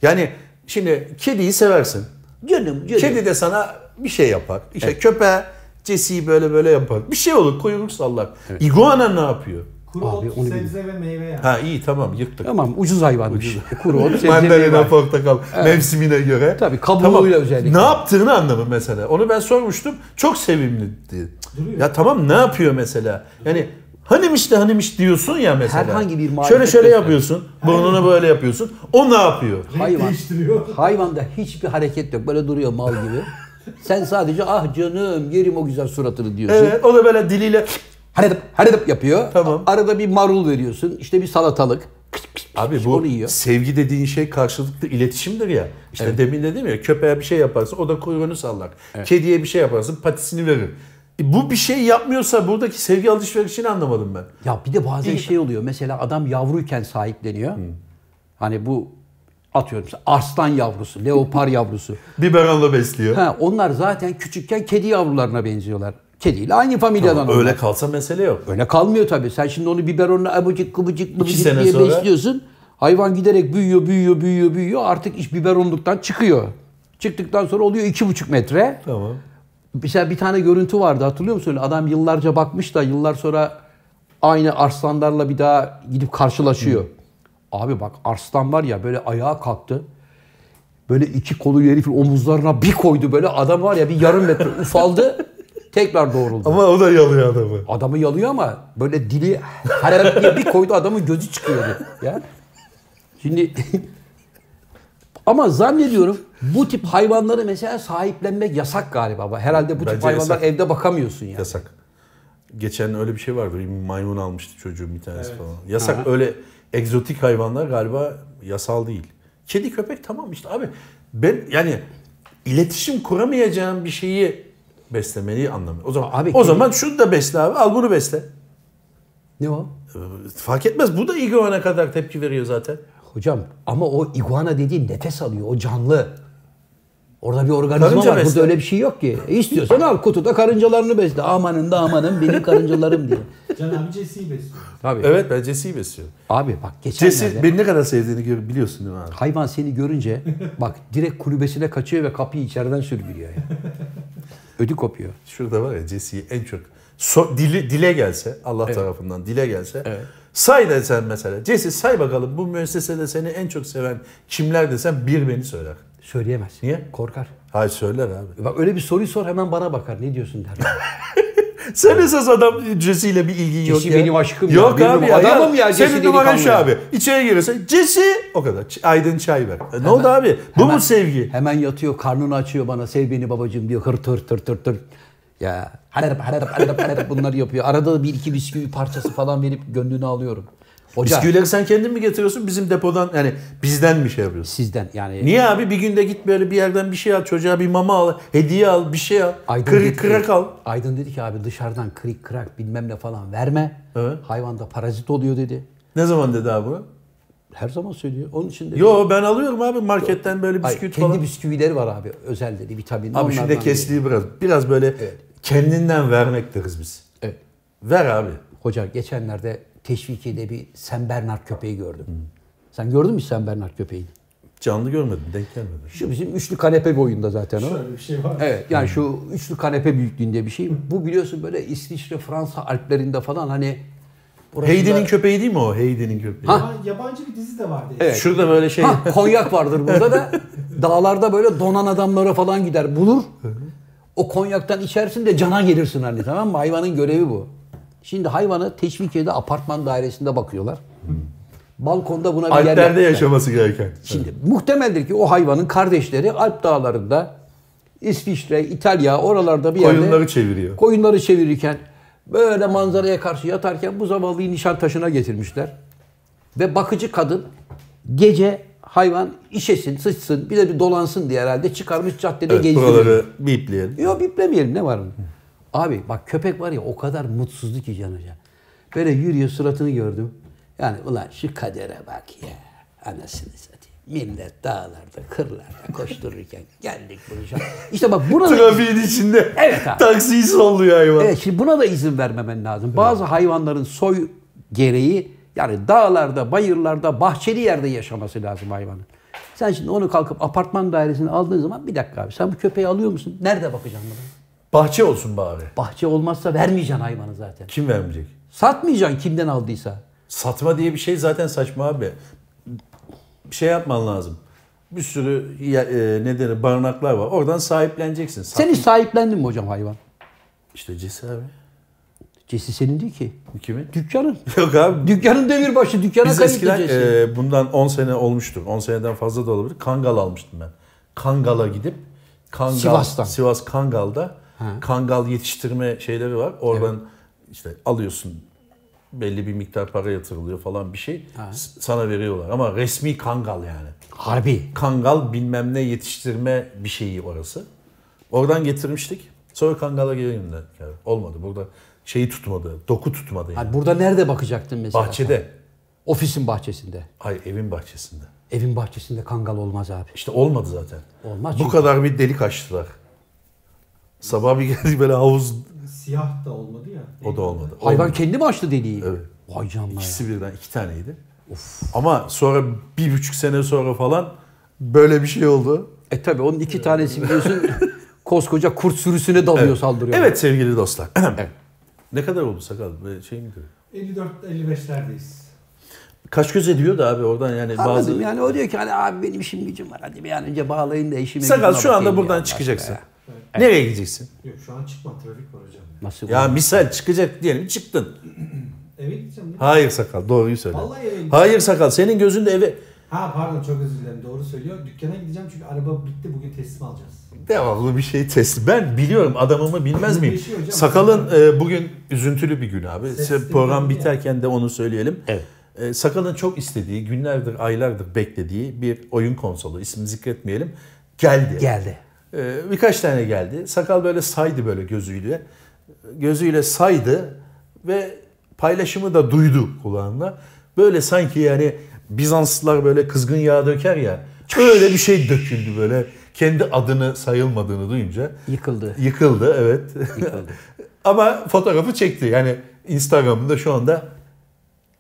Yani şimdi kediyi seversin. Canım canım. Kedi de sana bir şey yapar. İşte köpeğe cesiyi böyle böyle yapar. Bir şey olur kuyruk sallar. Iguana ne yapıyor? Kuru Abi, ot, onu sebze ve meyve yani. Ha iyi tamam yırttık. Tamam ucuz hayvanmış. (laughs) Kuru ot Şey, sebzeliği Mandalina, var. portakal mevsimine göre. Tabii, kabuğuyla özellikle. Ne yaptığını anlamı mesela. Onu ben sormuştum. Çok sevimliydi. Duruyor. Ya tamam ne yapıyor mesela? Yani hanimiş de hanimiş diyorsun ya mesela. Herhangi bir marifet Şöyle şöyle göster. yapıyorsun. Burnunu böyle yapıyorsun. O ne yapıyor? Renk hayvan. değiştiriyor. (laughs) Hayvanda hiçbir hareket yok. Böyle duruyor mal gibi. Sen sadece ah canım yerim o güzel suratını diyorsun. Evet, o da böyle diliyle Haredip, haredip yapıyor. Tamam. A- Arada bir marul veriyorsun. işte bir salatalık. Kıç kıç kıç Abi kıç bu onu yiyor. sevgi dediğin şey karşılıklı iletişimdir ya. İşte demin dedim ya köpeğe bir şey yaparsın o da kuyruğunu sallar. Kediye bir şey yaparsın patisini verir. E, bu bir şey yapmıyorsa buradaki sevgi alışverişini anlamadım ben. Ya bir de bazen İyi. şey oluyor. Mesela adam yavruyken sahipleniyor. Hani bu atıyorum işte arslan yavrusu, (laughs) leopar yavrusu. Biberonla besliyor. Ha, onlar zaten küçükken kedi yavrularına benziyorlar. Kediyle aynı familyadan onlar. Öyle kalsa mesele yok. Öyle kalmıyor tabii. Sen şimdi onu biberonla abıcık kıbıcık mıbıcık sene diye sonra- besliyorsun. Hayvan giderek büyüyor, büyüyor, büyüyor, büyüyor. Artık iş biberonluktan çıkıyor. Çıktıktan sonra oluyor iki buçuk metre. Tamam. Mesela bir tane görüntü vardı hatırlıyor musun? Adam yıllarca bakmış da yıllar sonra aynı arslanlarla bir daha gidip karşılaşıyor. Abi bak arslan var ya böyle ayağa kalktı. Böyle iki kolu herifin omuzlarına bir koydu böyle adam var ya bir yarım metre ufaldı tekrar doğruldu. Ama o da yalıyor adamı. Adamı yalıyor ama böyle dili harap diye bir koydu adamın gözü çıkıyordu. Ya. Şimdi (laughs) ama zannediyorum bu tip hayvanları mesela sahiplenmek yasak galiba. ama Herhalde bu tip Bence hayvanlar yasak. evde bakamıyorsun yani. Yasak. Geçen öyle bir şey vardı. Bir maymun almıştı çocuğun bir tanesi falan. Yasak öyle egzotik hayvanlar galiba yasal değil. Kedi köpek tamam işte abi ben yani iletişim kuramayacağım bir şeyi beslemeyi anlamıyorum. O zaman Abi abi, o kedi- zaman şunu da besle abi. Al bunu besle. Ne o? Ee, Fark etmez. Bu da iguana kadar tepki veriyor zaten. Hocam ama o iguana dediğin nefes alıyor. O canlı. Orada bir organizma Karınca var. besle. Burada öyle bir şey yok ki. E, istiyorsan al kutuda karıncalarını besle. Amanın da amanın benim karıncalarım diye. Can abi Jesse'yi besliyor. Tabii. (laughs) Evet ben Jesse'yi besliyor. Abi bak geçenlerde... Jesse beni ne kadar sevdiğini gör- biliyorsun değil mi abi? Hayvan seni görünce bak direkt kulübesine kaçıyor ve kapıyı içeriden sürgülüyor. Yani. Ödü kopuyor. Şurada var ya Jesse'yi en çok so- dili, dile gelse Allah tarafından dile gelse say desen mesela Jesse say bakalım bu müessesede seni en çok seven kimler desen bir beni söyler. Söyleyemez. Niye? Korkar. Hayır söyler abi. Bak öyle bir soruyu sor hemen bana bakar. Ne diyorsun der. Sen esas adam Jesse ile bir ilgin yok Jesse ya. benim aşkım ya, Yok benim abi ya. adamım ya Jesse Senin numaran şu delikanlı abi. İçeri girirsen Jesse o kadar. Ç- Aydın çay ver. E, ne oldu abi? Bu mu sevgi? Hemen yatıyor, karnını açıyor bana. Sev beni babacığım diyor. Hır tır tır tır tır. Ya hararap hararap hararap hararap bunları yapıyor. Arada da bir iki bisküvi parçası falan verip gönlünü alıyorum. Hoca Bisküvileri sen kendin mi getiriyorsun bizim depodan yani bizden mi şey yapıyorsun? sizden yani. Niye abi bir günde git böyle bir yerden bir şey al çocuğa bir mama al, hediye al, bir şey al. Aydın Kırık dedi ki- kırak al. Aydın dedi ki abi dışarıdan kırık kırak bilmem ne falan verme. Evet. Hayvanda parazit oluyor dedi. Ne zaman dedi abi bunu? Her zaman söylüyor. Onun için dedi. Yo ben alıyorum abi marketten böyle Ay, bisküvit kendi falan. bisküvileri var abi. Özel dedi vitaminli. Abi şimdi onlardan dedi. kesliği biraz. Biraz böyle kendinden vermek deriz biz. Evet. Ver abi. Hoca geçenlerde teşvikiyle bir Sen Bernard köpeği gördüm. Sen gördün mü Sen Bernard köpeğini? Canlı görmedim, denk gelmedi. Şu bizim üçlü kanepe boyunda zaten o. Şöyle bir şey var. Evet yani şu üçlü kanepe büyüklüğünde bir şey. Bu biliyorsun böyle İsviçre, Fransa alplerinde falan hani burası Heidi'nin da- köpeği değil mi o? Heidi'nin köpeği. Ha. Yaban- Yabancı bir dizi de vardı. Şurada böyle şey. Ha, konyak vardır burada (laughs) da. Dağlarda böyle donan adamlara falan gider bulur. O konyaktan içersin de cana gelirsin hani tamam mı? Hayvanın görevi bu. Şimdi hayvanı teşvikiyede apartman dairesinde bakıyorlar. Balkonda buna bir yer Alplerde yapmışlar. yaşaması gereken. Şimdi muhtemeldir ki o hayvanın kardeşleri Alp dağlarında İsviçre, İtalya oralarda bir yerde Koyunları çeviriyor. Koyunları çevirirken böyle manzaraya karşı yatarken bu zavallıyı nişan taşına getirmişler. Ve bakıcı kadın gece hayvan işesin, sıçsın, bir de bir dolansın diye herhalde çıkarmış caddede Evet, gezdiriyor. buraları bipleyelim. Yok biplemeyelim ne var mı? Abi bak köpek var ya o kadar mutsuzdu ki Can Hoca. Böyle yürüyor suratını gördüm. Yani ulan şu kadere bak ya. Anasını satayım. Millet dağlarda, kırlarda koştururken geldik bunu şu an. İşte bak buna da, Trafiğin içinde Evet abi. taksiyi sallıyor hayvan. evet, şimdi buna da izin vermemen lazım. Bazı hayvanların soy gereği yani dağlarda, bayırlarda, bahçeli yerde yaşaması lazım hayvanın. Sen şimdi onu kalkıp apartman dairesine aldığın zaman bir dakika abi sen bu köpeği alıyor musun? Nerede bakacaksın buna? Bahçe olsun bari. Bahçe olmazsa vermeyeceksin hayvanı zaten. Kim vermeyecek? Satmayacaksın kimden aldıysa. Satma diye bir şey zaten saçma abi. Bir şey yapman lazım. Bir sürü ya- e, nedeni barınaklar var. Oradan sahipleneceksin. Sat- Sen hiç sahiplendin mi hocam hayvan? İşte Cesi abi. Cesi senin değil ki. Kimin? (laughs) Dükkanın. Yok abi. Dükkanın demirbaşı, dükkana Biz kayıtlı eskiden cesi. e, bundan 10 sene olmuştur. 10 seneden fazla da olabilir. Kangal almıştım ben. Kangal'a gidip Kangal, Sivas'tan. Sivas Kangal'da Kangal yetiştirme şeyleri var. Oradan işte alıyorsun belli bir miktar para yatırılıyor falan bir şey. S- Sana veriyorlar ama resmi Kangal yani. Harbi. Kangal bilmem ne yetiştirme bir şeyi orası. Oradan getirmiştik. Sonra Kangal'a geleyim de. Yani olmadı. Burada şeyi tutmadı. Doku tutmadı yani. Hani burada nerede bakacaktın mesela? Bahçede. Ofisin bahçesinde. Ay evin bahçesinde. Evin bahçesinde kangal olmaz abi. İşte olmadı zaten. Olmaz Bu çünkü. kadar bir delik açtılar. Sabah bir geldik böyle havuz Siyah da olmadı ya. o da olmadı. Hayvan Olmadı. kendi mi açtı deliği? Evet. Vay canına ya. İkisi birden iki taneydi. Ama sonra bir buçuk sene sonra falan böyle bir şey oldu. E tabi onun iki tanesi biliyorsun (laughs) koskoca kurt sürüsüne dalıyor saldırıyor. Evet sevgili dostlar. (clears throat) Evet. ne kadar oldu sakal? Böyle Şey mi diyor? 54-55'lerdeyiz. kaç göz ediyor da abi oradan yani bazı... Anladım yani o diyor ki hani abi benim işim gücüm var hadi bir an önce bağlayın da işime Sakal gücüme şu anda bakayım buradan ya. çıkacaksın. Nereye gideceksin? Yok şu an çıkma trafik var hocam. Nasıl Ya ya, misal çıkacak diyelim çıktın. Eve gideceğim. ya. Hayır sakal doğruyu söyle. Vallahi eve Hayır sakal senin gözünde eve... Ha pardon çok özür dilerim doğru söylüyor. Dükkana gideceğim çünkü araba bitti bugün teslim alacağız. Devamlı bir şey test. Ben biliyorum adamımı bilmez miyim? Değişiyor hocam. Sakalın e, bugün üzüntülü bir gün abi. Ses Se- sistemi Program değil mi? biterken de onu söyleyelim. Evet. E, Sakalın çok istediği, günlerdir, aylardır beklediği bir oyun konsolu. İsmini zikretmeyelim. Geldi. geldi. E, birkaç tane geldi. Sakal böyle saydı böyle gözüyle. Gözüyle saydı ve paylaşımı da duydu kulağında. Böyle sanki yani Bizanslılar böyle kızgın yağ döker ya. Öyle bir şey döküldü böyle. Kendi adını sayılmadığını duyunca. Yıkıldı. Yıkıldı evet. (laughs) Ama fotoğrafı çekti. Yani Instagram'da şu anda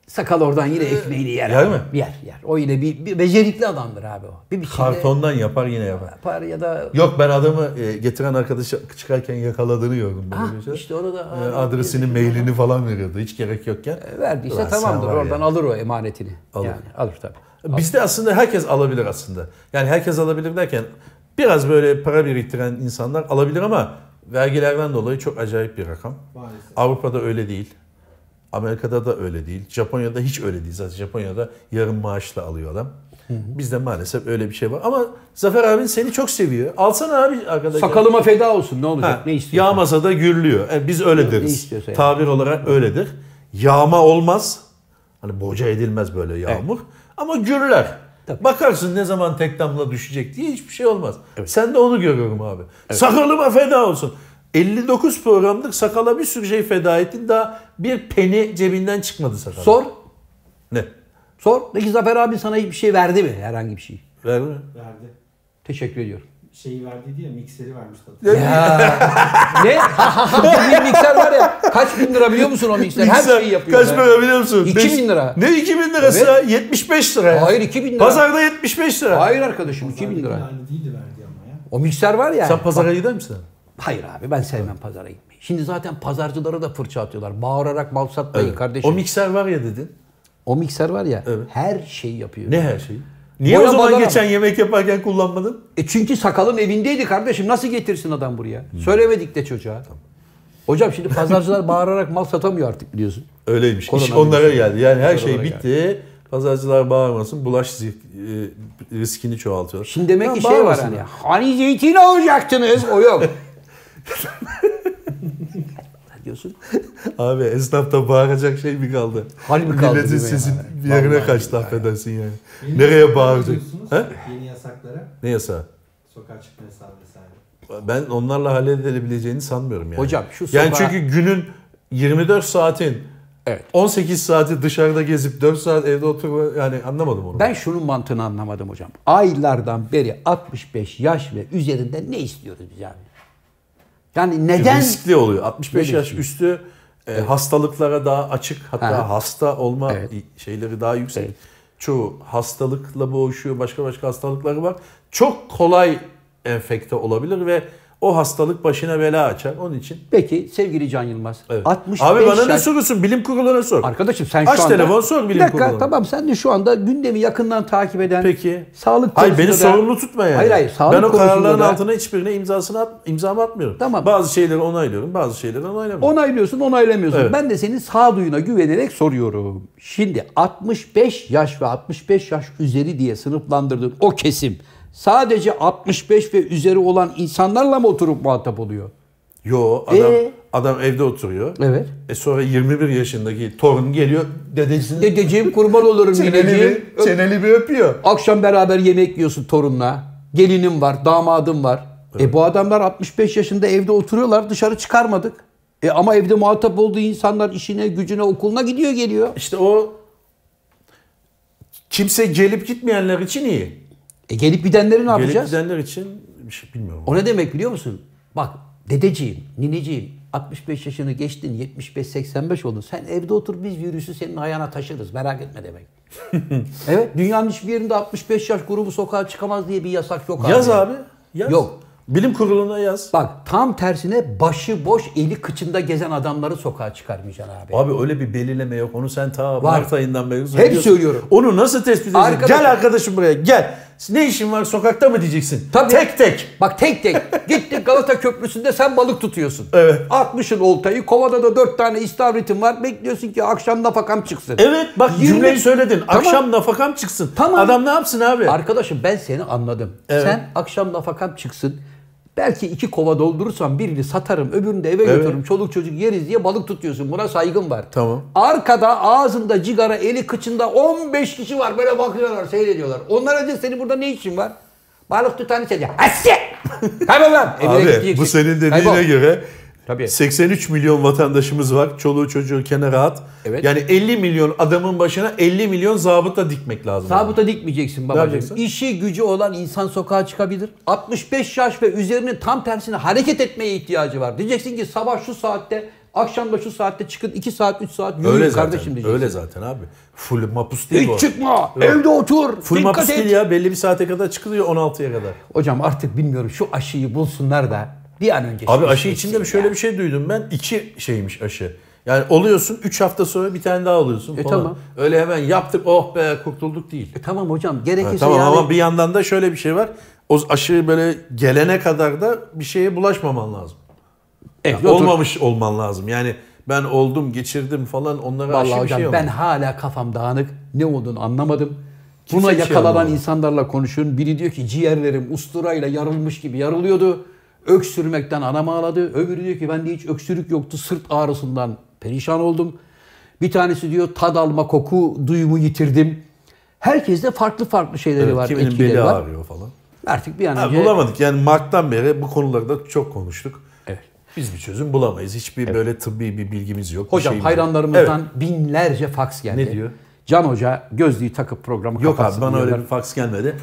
Sakal oradan yine ekmeğini yer. Ee, yer abi. mi? Yer yer. O yine bir, bir becerikli adamdır abi o. Bir biçimde kartondan yapar yine yapar. yapar ya da Yok ben adamı e, getiren arkadaşı çıkarken yakaladığını gördüm. Böyle Ah, bir şey. işte onu da- E, adresini, mailini falan veriyordu hiç gerek yokken. verdiyse Ulan sen tamamdır. var ya. Oradan alır o emanetini. Alır. Yani alır tabii. Bizde aslında herkes alabilir aslında. Yani herkes alabilir derken biraz böyle para biriktiren insanlar alabilir ama vergilerden dolayı çok acayip bir rakam. Maalesef. Avrupa'da öyle değil. Amerika'da da öyle değil. Japonya'da hiç öyle değil. Zaten Japonya'da yarım maaşla alıyor adam. Bizde maalesef öyle bir şey var. Ama Zafer abin seni çok seviyor. Alsana abi arkadaş. Sakalıma feda olsun ne olacak? Ha, ne istiyorsun? Yağmasa da gürlüyor. E, biz öyle deriz. istiyorsa yani. Tabir olarak öyledir. Yağma olmaz. Hani boca edilmez böyle yağmur. Ama gürler. Bakarsın ne zaman tek damla düşecek diye hiçbir şey olmaz. Sen de onu görüyorum abi. Sakalıma feda olsun. 59 programdır sakala bir sürü şey feda ettin. Daha bir peni cebinden çıkmadı sakala. Sor. Ne? Sor. Peki Zafer abi sana bir şey verdi mi? Herhangi bir şey. Ver mi? Verdi. Teşekkür ediyorum. Şeyi verdi diye mikseri vermişti hatırlıyorum. ne? bir mikser var ya. Kaç bin lira biliyor musun o mikser? Her Bilgisayar şeyi yapıyor. Kaç be. para biliyor musun? 2000 lira. Ne 2000 lirası? Evet. ya? 75 lira. ya. Hayır, 2000 lira. Pazarda 75 lira. Hayır arkadaşım 2000 lira. Aynı değildi verdi ama ya. O mikser var ya. Sen pazara gider misin? Hayır abi ben sevmem pazara gitmeyi. Şimdi zaten pazarcılara da fırça atıyorlar. Bağırarak mal satmayın kardeşim. O O, mikser var ya dedin. mikser var ya Evet. her şeyi yapıyor. Ne her şeyi? Niye Boya o zaman badana geçen yemek yaparken kullanmadın? E çünkü sakalım evindeydi kardeşim. Nasıl getirsin adam buraya? Söylemedik de çocuğa. Hocam şimdi pazarcılar bağırarak mal satamıyor artık biliyorsun. Öyleymiş. İş Koronavirüs. onlara geldi. Yani her şey Koronavirüs bitti. Pazarcılar bağırmasın. Bulaş zi- e, riskini çoğaltıyor. Şimdi demek Tamam, ki şey var hani. bağırmasınlar. Hani zeytin alacaktınız o (laughs) yok. diyorsun. (laughs) Abi esnafta bağıracak şey mi kaldı? Hal mi kaldı Milletin değil mi sesi yani? yerine Vallahi kaçtı affedersin yani. Yeni Nereye yasaklara bağıracak? gidiyorsunuz, Ha? Yeni yasaklara. Ne yasa? Sokağa çıkma yasağı vesaire. Ben onlarla halledilebileceğini sanmıyorum yani. Hocam şu Yani sokağa- çünkü günün 24 saatin Evet. 18 saati dışarıda gezip 4 saat evde oturma yani anlamadım onu. Ben şunun mantığını anlamadım hocam. Aylardan beri 65 yaş ve üzerinde ne istiyoruz biz abi? Yani neden? riskli oluyor. 65 Böyle yaş riskli. üstü e, hastalıklara daha açık hatta Ha. hasta olma Evet. i- şeyleri daha yüksek. Evet. Çoğu hastalıkla boğuşuyor, başka başka hastalıkları var. Çok kolay enfekte olabilir ve o hastalık başına bela açar. Onun için Peki sevgili Can Yılmaz. evet. 65 Abi bana ne yaş- soruyorsun? Bilim kuruluna sor. Arkadaşım sen Aç şu anda... telefon, sor bilim Bir dakika kurulunu. tamam sen de şu anda gündemi yakından takip eden... Peki. Sağlık Hayır beni konusunda da- sorumlu tutma yani. Hayır hayır sağlık ben o konusunda kararların da altına hiçbirine imzasını at, imzamı atmıyorum. Tamam. Bazı şeyleri onaylıyorum, bazı şeyleri onaylamıyorum. Onaylıyorsun onaylamıyorsun. Evet. Ben de senin sağduyuna güvenerek soruyorum. Şimdi 65 yaş ve 65 yaş üzeri diye sınıflandırdığın o kesim sadece 65 ve üzeri olan insanlarla mı oturup muhatap oluyor? Yo adam Ee? adam evde oturuyor. Evet. E sonra 21 yaşındaki torun geliyor dedesini Dedeciğim kurban olurum çeneli nineciğim. bir, çeneli bir öpüyor. Akşam beraber yemek yiyorsun torunla. Gelinim var, damadım var. E bu adamlar 65 yaşında evde oturuyorlar dışarı çıkarmadık. E ama evde muhatap olduğu insanlar işine, gücüne, okuluna gidiyor geliyor. İşte o kimse gelip gitmeyenler için iyi. E gelip gidenleri ne Gelip yapacağız? gidenler için bir şey bilmiyorum. O ne demek biliyor musun? Bak dedeciğim, nineciğim 65 yaşını geçtin 75-85 oldun. Sen evde otur biz virüsü senin ayağına taşırız merak etme (laughs) demek. evet dünyanın hiçbir yerinde 65 yaş grubu sokağa çıkamaz diye bir yasak yok abi. Yaz abi. Yaz. Yok. Bilim kuruluna yaz. Bak tam tersine başı boş eli kıçında gezen adamları sokağa çıkarmayacaksın abi. Abi öyle bir belirleme yok. Onu sen ta Var. Mart ayından beri Hep söylüyorum. Onu nasıl tespit edeceksin? Arkadaş- Gel arkadaşım buraya gel. Ne işin var sokakta mı diyeceksin? Tabii. Tek tek. Bak tek (laughs) tek gittik Galata Köprüsü'nde sen balık tutuyorsun. Evet. Atmışsın oltayı kovada da dört tane istavritin var bekliyorsun ki akşam nafakam çıksın. Evet bak Yirmi- cümleyi söyledin. Tamam. Akşam nafakam çıksın. Tamam. Adam ne yapsın abi? Arkadaşım ben seni anladım. Evet. Sen akşam nafakam çıksın. Belki iki kova doldurursam birini satarım, öbürünü de eve Evet. götürürüm. Çoluk çocuk yeriz diye balık tutuyorsun. Buna saygım var. Tamam. Arkada ağzında cigara, eli kıçında 15 kişi var. Böyle bakıyorlar, seyrediyorlar. Onlara diyor senin burada ne işin var? Balık tutan içecek. Asya! (laughs) Kaybol lan! Evine Abi gideceksin. bu senin dediğine Kaybol. göre Tabii. 83 milyon vatandaşımız var. Çoluğu çocuğu kenara at. Evet. Yani 50 milyon adamın başına 50 milyon zabıta dikmek lazım. Sabuta dikmeyeceksin babacığım. yapacaksın? İşi gücü olan insan sokağa çıkabilir. 65 yaş ve üzerinin tam tersine hareket etmeye ihtiyacı var. Diyeceksin ki sabah şu saatte, akşam da şu saatte çıkın 2 saat 3 saat yürüyün Öyle zaten. kardeşim diyeceksin. öyle zaten abi. Full mapus değil bu. Hiç çıkma. Evde otur. Full dikkat mapus et. değil ya. Belli bir saate kadar çıkılıyor 16'ya kadar. Hocam artık bilmiyorum şu aşıyı bulsunlar da bir an önce. şey Abi şu aşı işi içinde bir şöyle bir şey duydum ben. iki şeymiş aşı. Yani oluyorsun 3 hafta sonra bir tane daha oluyorsun E falan. tamam. Öyle hemen yaptık oh be kurtulduk değil. E tamam hocam gerekirse tamam yani. ama bir yandan da şöyle bir şey var. O aşı böyle gelene kadar da bir şeye bulaşmaman lazım. Evde Yani otur. olmamış olman lazım. Yani ben oldum, geçirdim falan onlara Vallahi aşı bir hocam şey yok. ben hala kafam dağınık. Ne olduğunu anlamadım. Buna Kimse bir şey yakalanan anlamadı. insanlarla konuşun. Biri diyor ki ciğerlerim usturayla yarılmış gibi yarılıyordu. Öksürmekten anam ağladı. Öbürü diyor ki bende hiç öksürük yoktu. Sırt ağrısından perişan oldum. Bir tanesi diyor tad alma koku duyumu yitirdim. Herkeste farklı farklı şeyleri var, Kiminin etkileri beli var. ağrıyor falan. Artık bir an Ha, önce bulamadık. Yani Mart'tan beri bu konularda çok konuştuk. Evet. Biz bir çözüm bulamayız. Hiçbir böyle tıbbi bir bilgimiz yok. bir Hocam şeyimiz yok. hayranlarımızdan Evet. binlerce faks geldi. Ne diyor? Can Hoca gözlüğü takıp programı Yok abi kapatsın bana diyorlar. öyle bir faks gelmedi.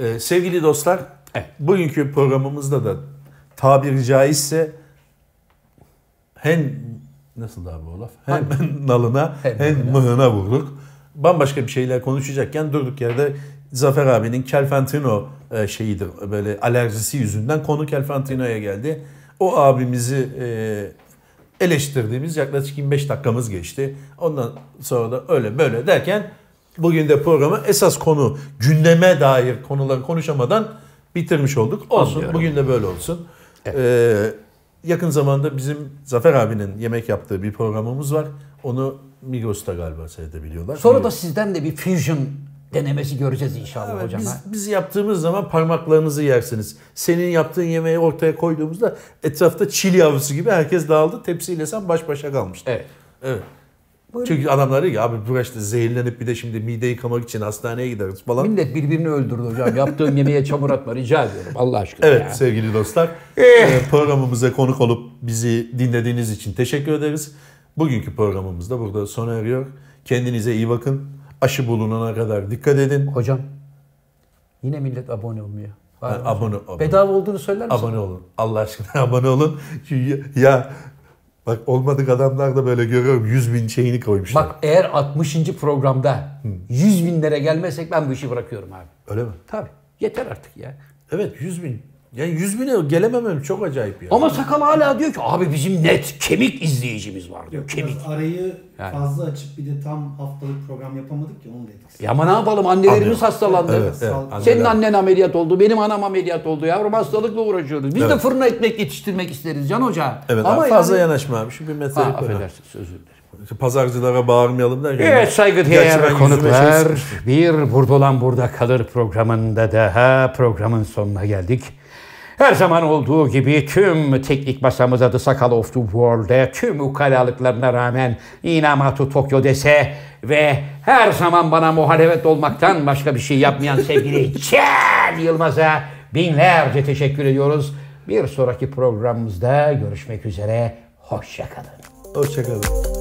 Ee, sevgili dostlar, Evet. bugünkü programımızda da tabiri caizse hen nasıl da abi o laf? Hem (laughs) nalına Hem hem mıhına vurduk. Bambaşka bir şeyler konuşacakken durduk yerde Zafer abinin Kelfantino e, şeyidir böyle alerjisi yüzünden konu Kelfantino'ya geldi. O abimizi e, eleştirdiğimiz yaklaşık 25 dakikamız geçti. Ondan sonra da öyle böyle derken bugün de programı esas konu gündeme dair konuları konuşamadan bitirmiş olduk. Olsun Anlıyorum. bugün de böyle olsun. Ee, yakın zamanda bizim Zafer abinin yemek yaptığı bir programımız var. Onu Migros'ta galiba seyredebiliyorlar. Sonra da sizden de bir fusion denemesi göreceğiz inşallah Evet, hocam. biz, ha. biz yaptığımız zaman parmaklarınızı yersiniz. Senin yaptığın yemeği ortaya koyduğumuzda etrafta çil yavrusu gibi herkes dağıldı. Tepsiyle sen baş başa kalmıştın. Evet. Evet. Çünkü adamlar diyor ki abi bu işte zehirlenip bir de şimdi mide yıkamak için hastaneye gideriz falan. Millet birbirini öldürdü hocam. Yaptığım yemeğe çamur atma rica ediyorum Allah aşkına Evet ya. Eh. sevgili dostlar. e, programımıza konuk olup bizi dinlediğiniz için teşekkür ederiz. Bugünkü programımız da burada sona eriyor. Kendinize iyi bakın. Aşı bulunana kadar dikkat edin. Hocam yine millet abone olmuyor. Var Ha, mı? abone, abone, Bedava olduğunu söyler misin? abone olun. Allah aşkına (laughs) abone olun. Çünkü ya bak olmadık adamlar da böyle görüyorum 100 bin şeyini koymuşlar. Bak eğer 60. programda 100 binlere gelmezsek ben bu işi bırakıyorum abi. Öyle mi? Tabii yeter artık ya. Evet 100 bin. Yani 100 bine gelememem çok acayip ya. Ama sakal hala diyor ki abi bizim net kemik izleyicimiz var diyor. Yok, Kemik. biraz arayı fazla açıp bir de tam haftalık program yapamadık ya onun da etkisi. Ya ama ne yapalım annelerimiz Anlıyorum. hastalandı. Evet, evet. Senin Senin Anneler- annen ameliyat oldu, benim anam ameliyat oldu. Yavrum hastalıkla uğraşıyoruz. Biz de Evet. fırına ekmek yetiştirmek isteriz Can Hoca. Evet Ama abi, fazla yani- yanaşma abi. Şu bir metre Ha, yukarı. affedersiniz özür dilerim. Pazarcılara bağırmayalım derken. Evet Gerçi ben saygıdeğer yüzüme şey konuklar sıkmıştım. bir Burada Olan Burada Kalır programında daha programın sonuna geldik. Her zaman olduğu gibi tüm teknik masamız adı Sakal of the World'e tüm ukalalıklarına rağmen Inamatu Tokyo dese ve her zaman bana muhalefet olmaktan başka bir şey yapmayan sevgili Can Yılmaz'a binlerce teşekkür ediyoruz. Bir sonraki programımızda görüşmek üzere. Hoşçakalın. Hoşçakalın.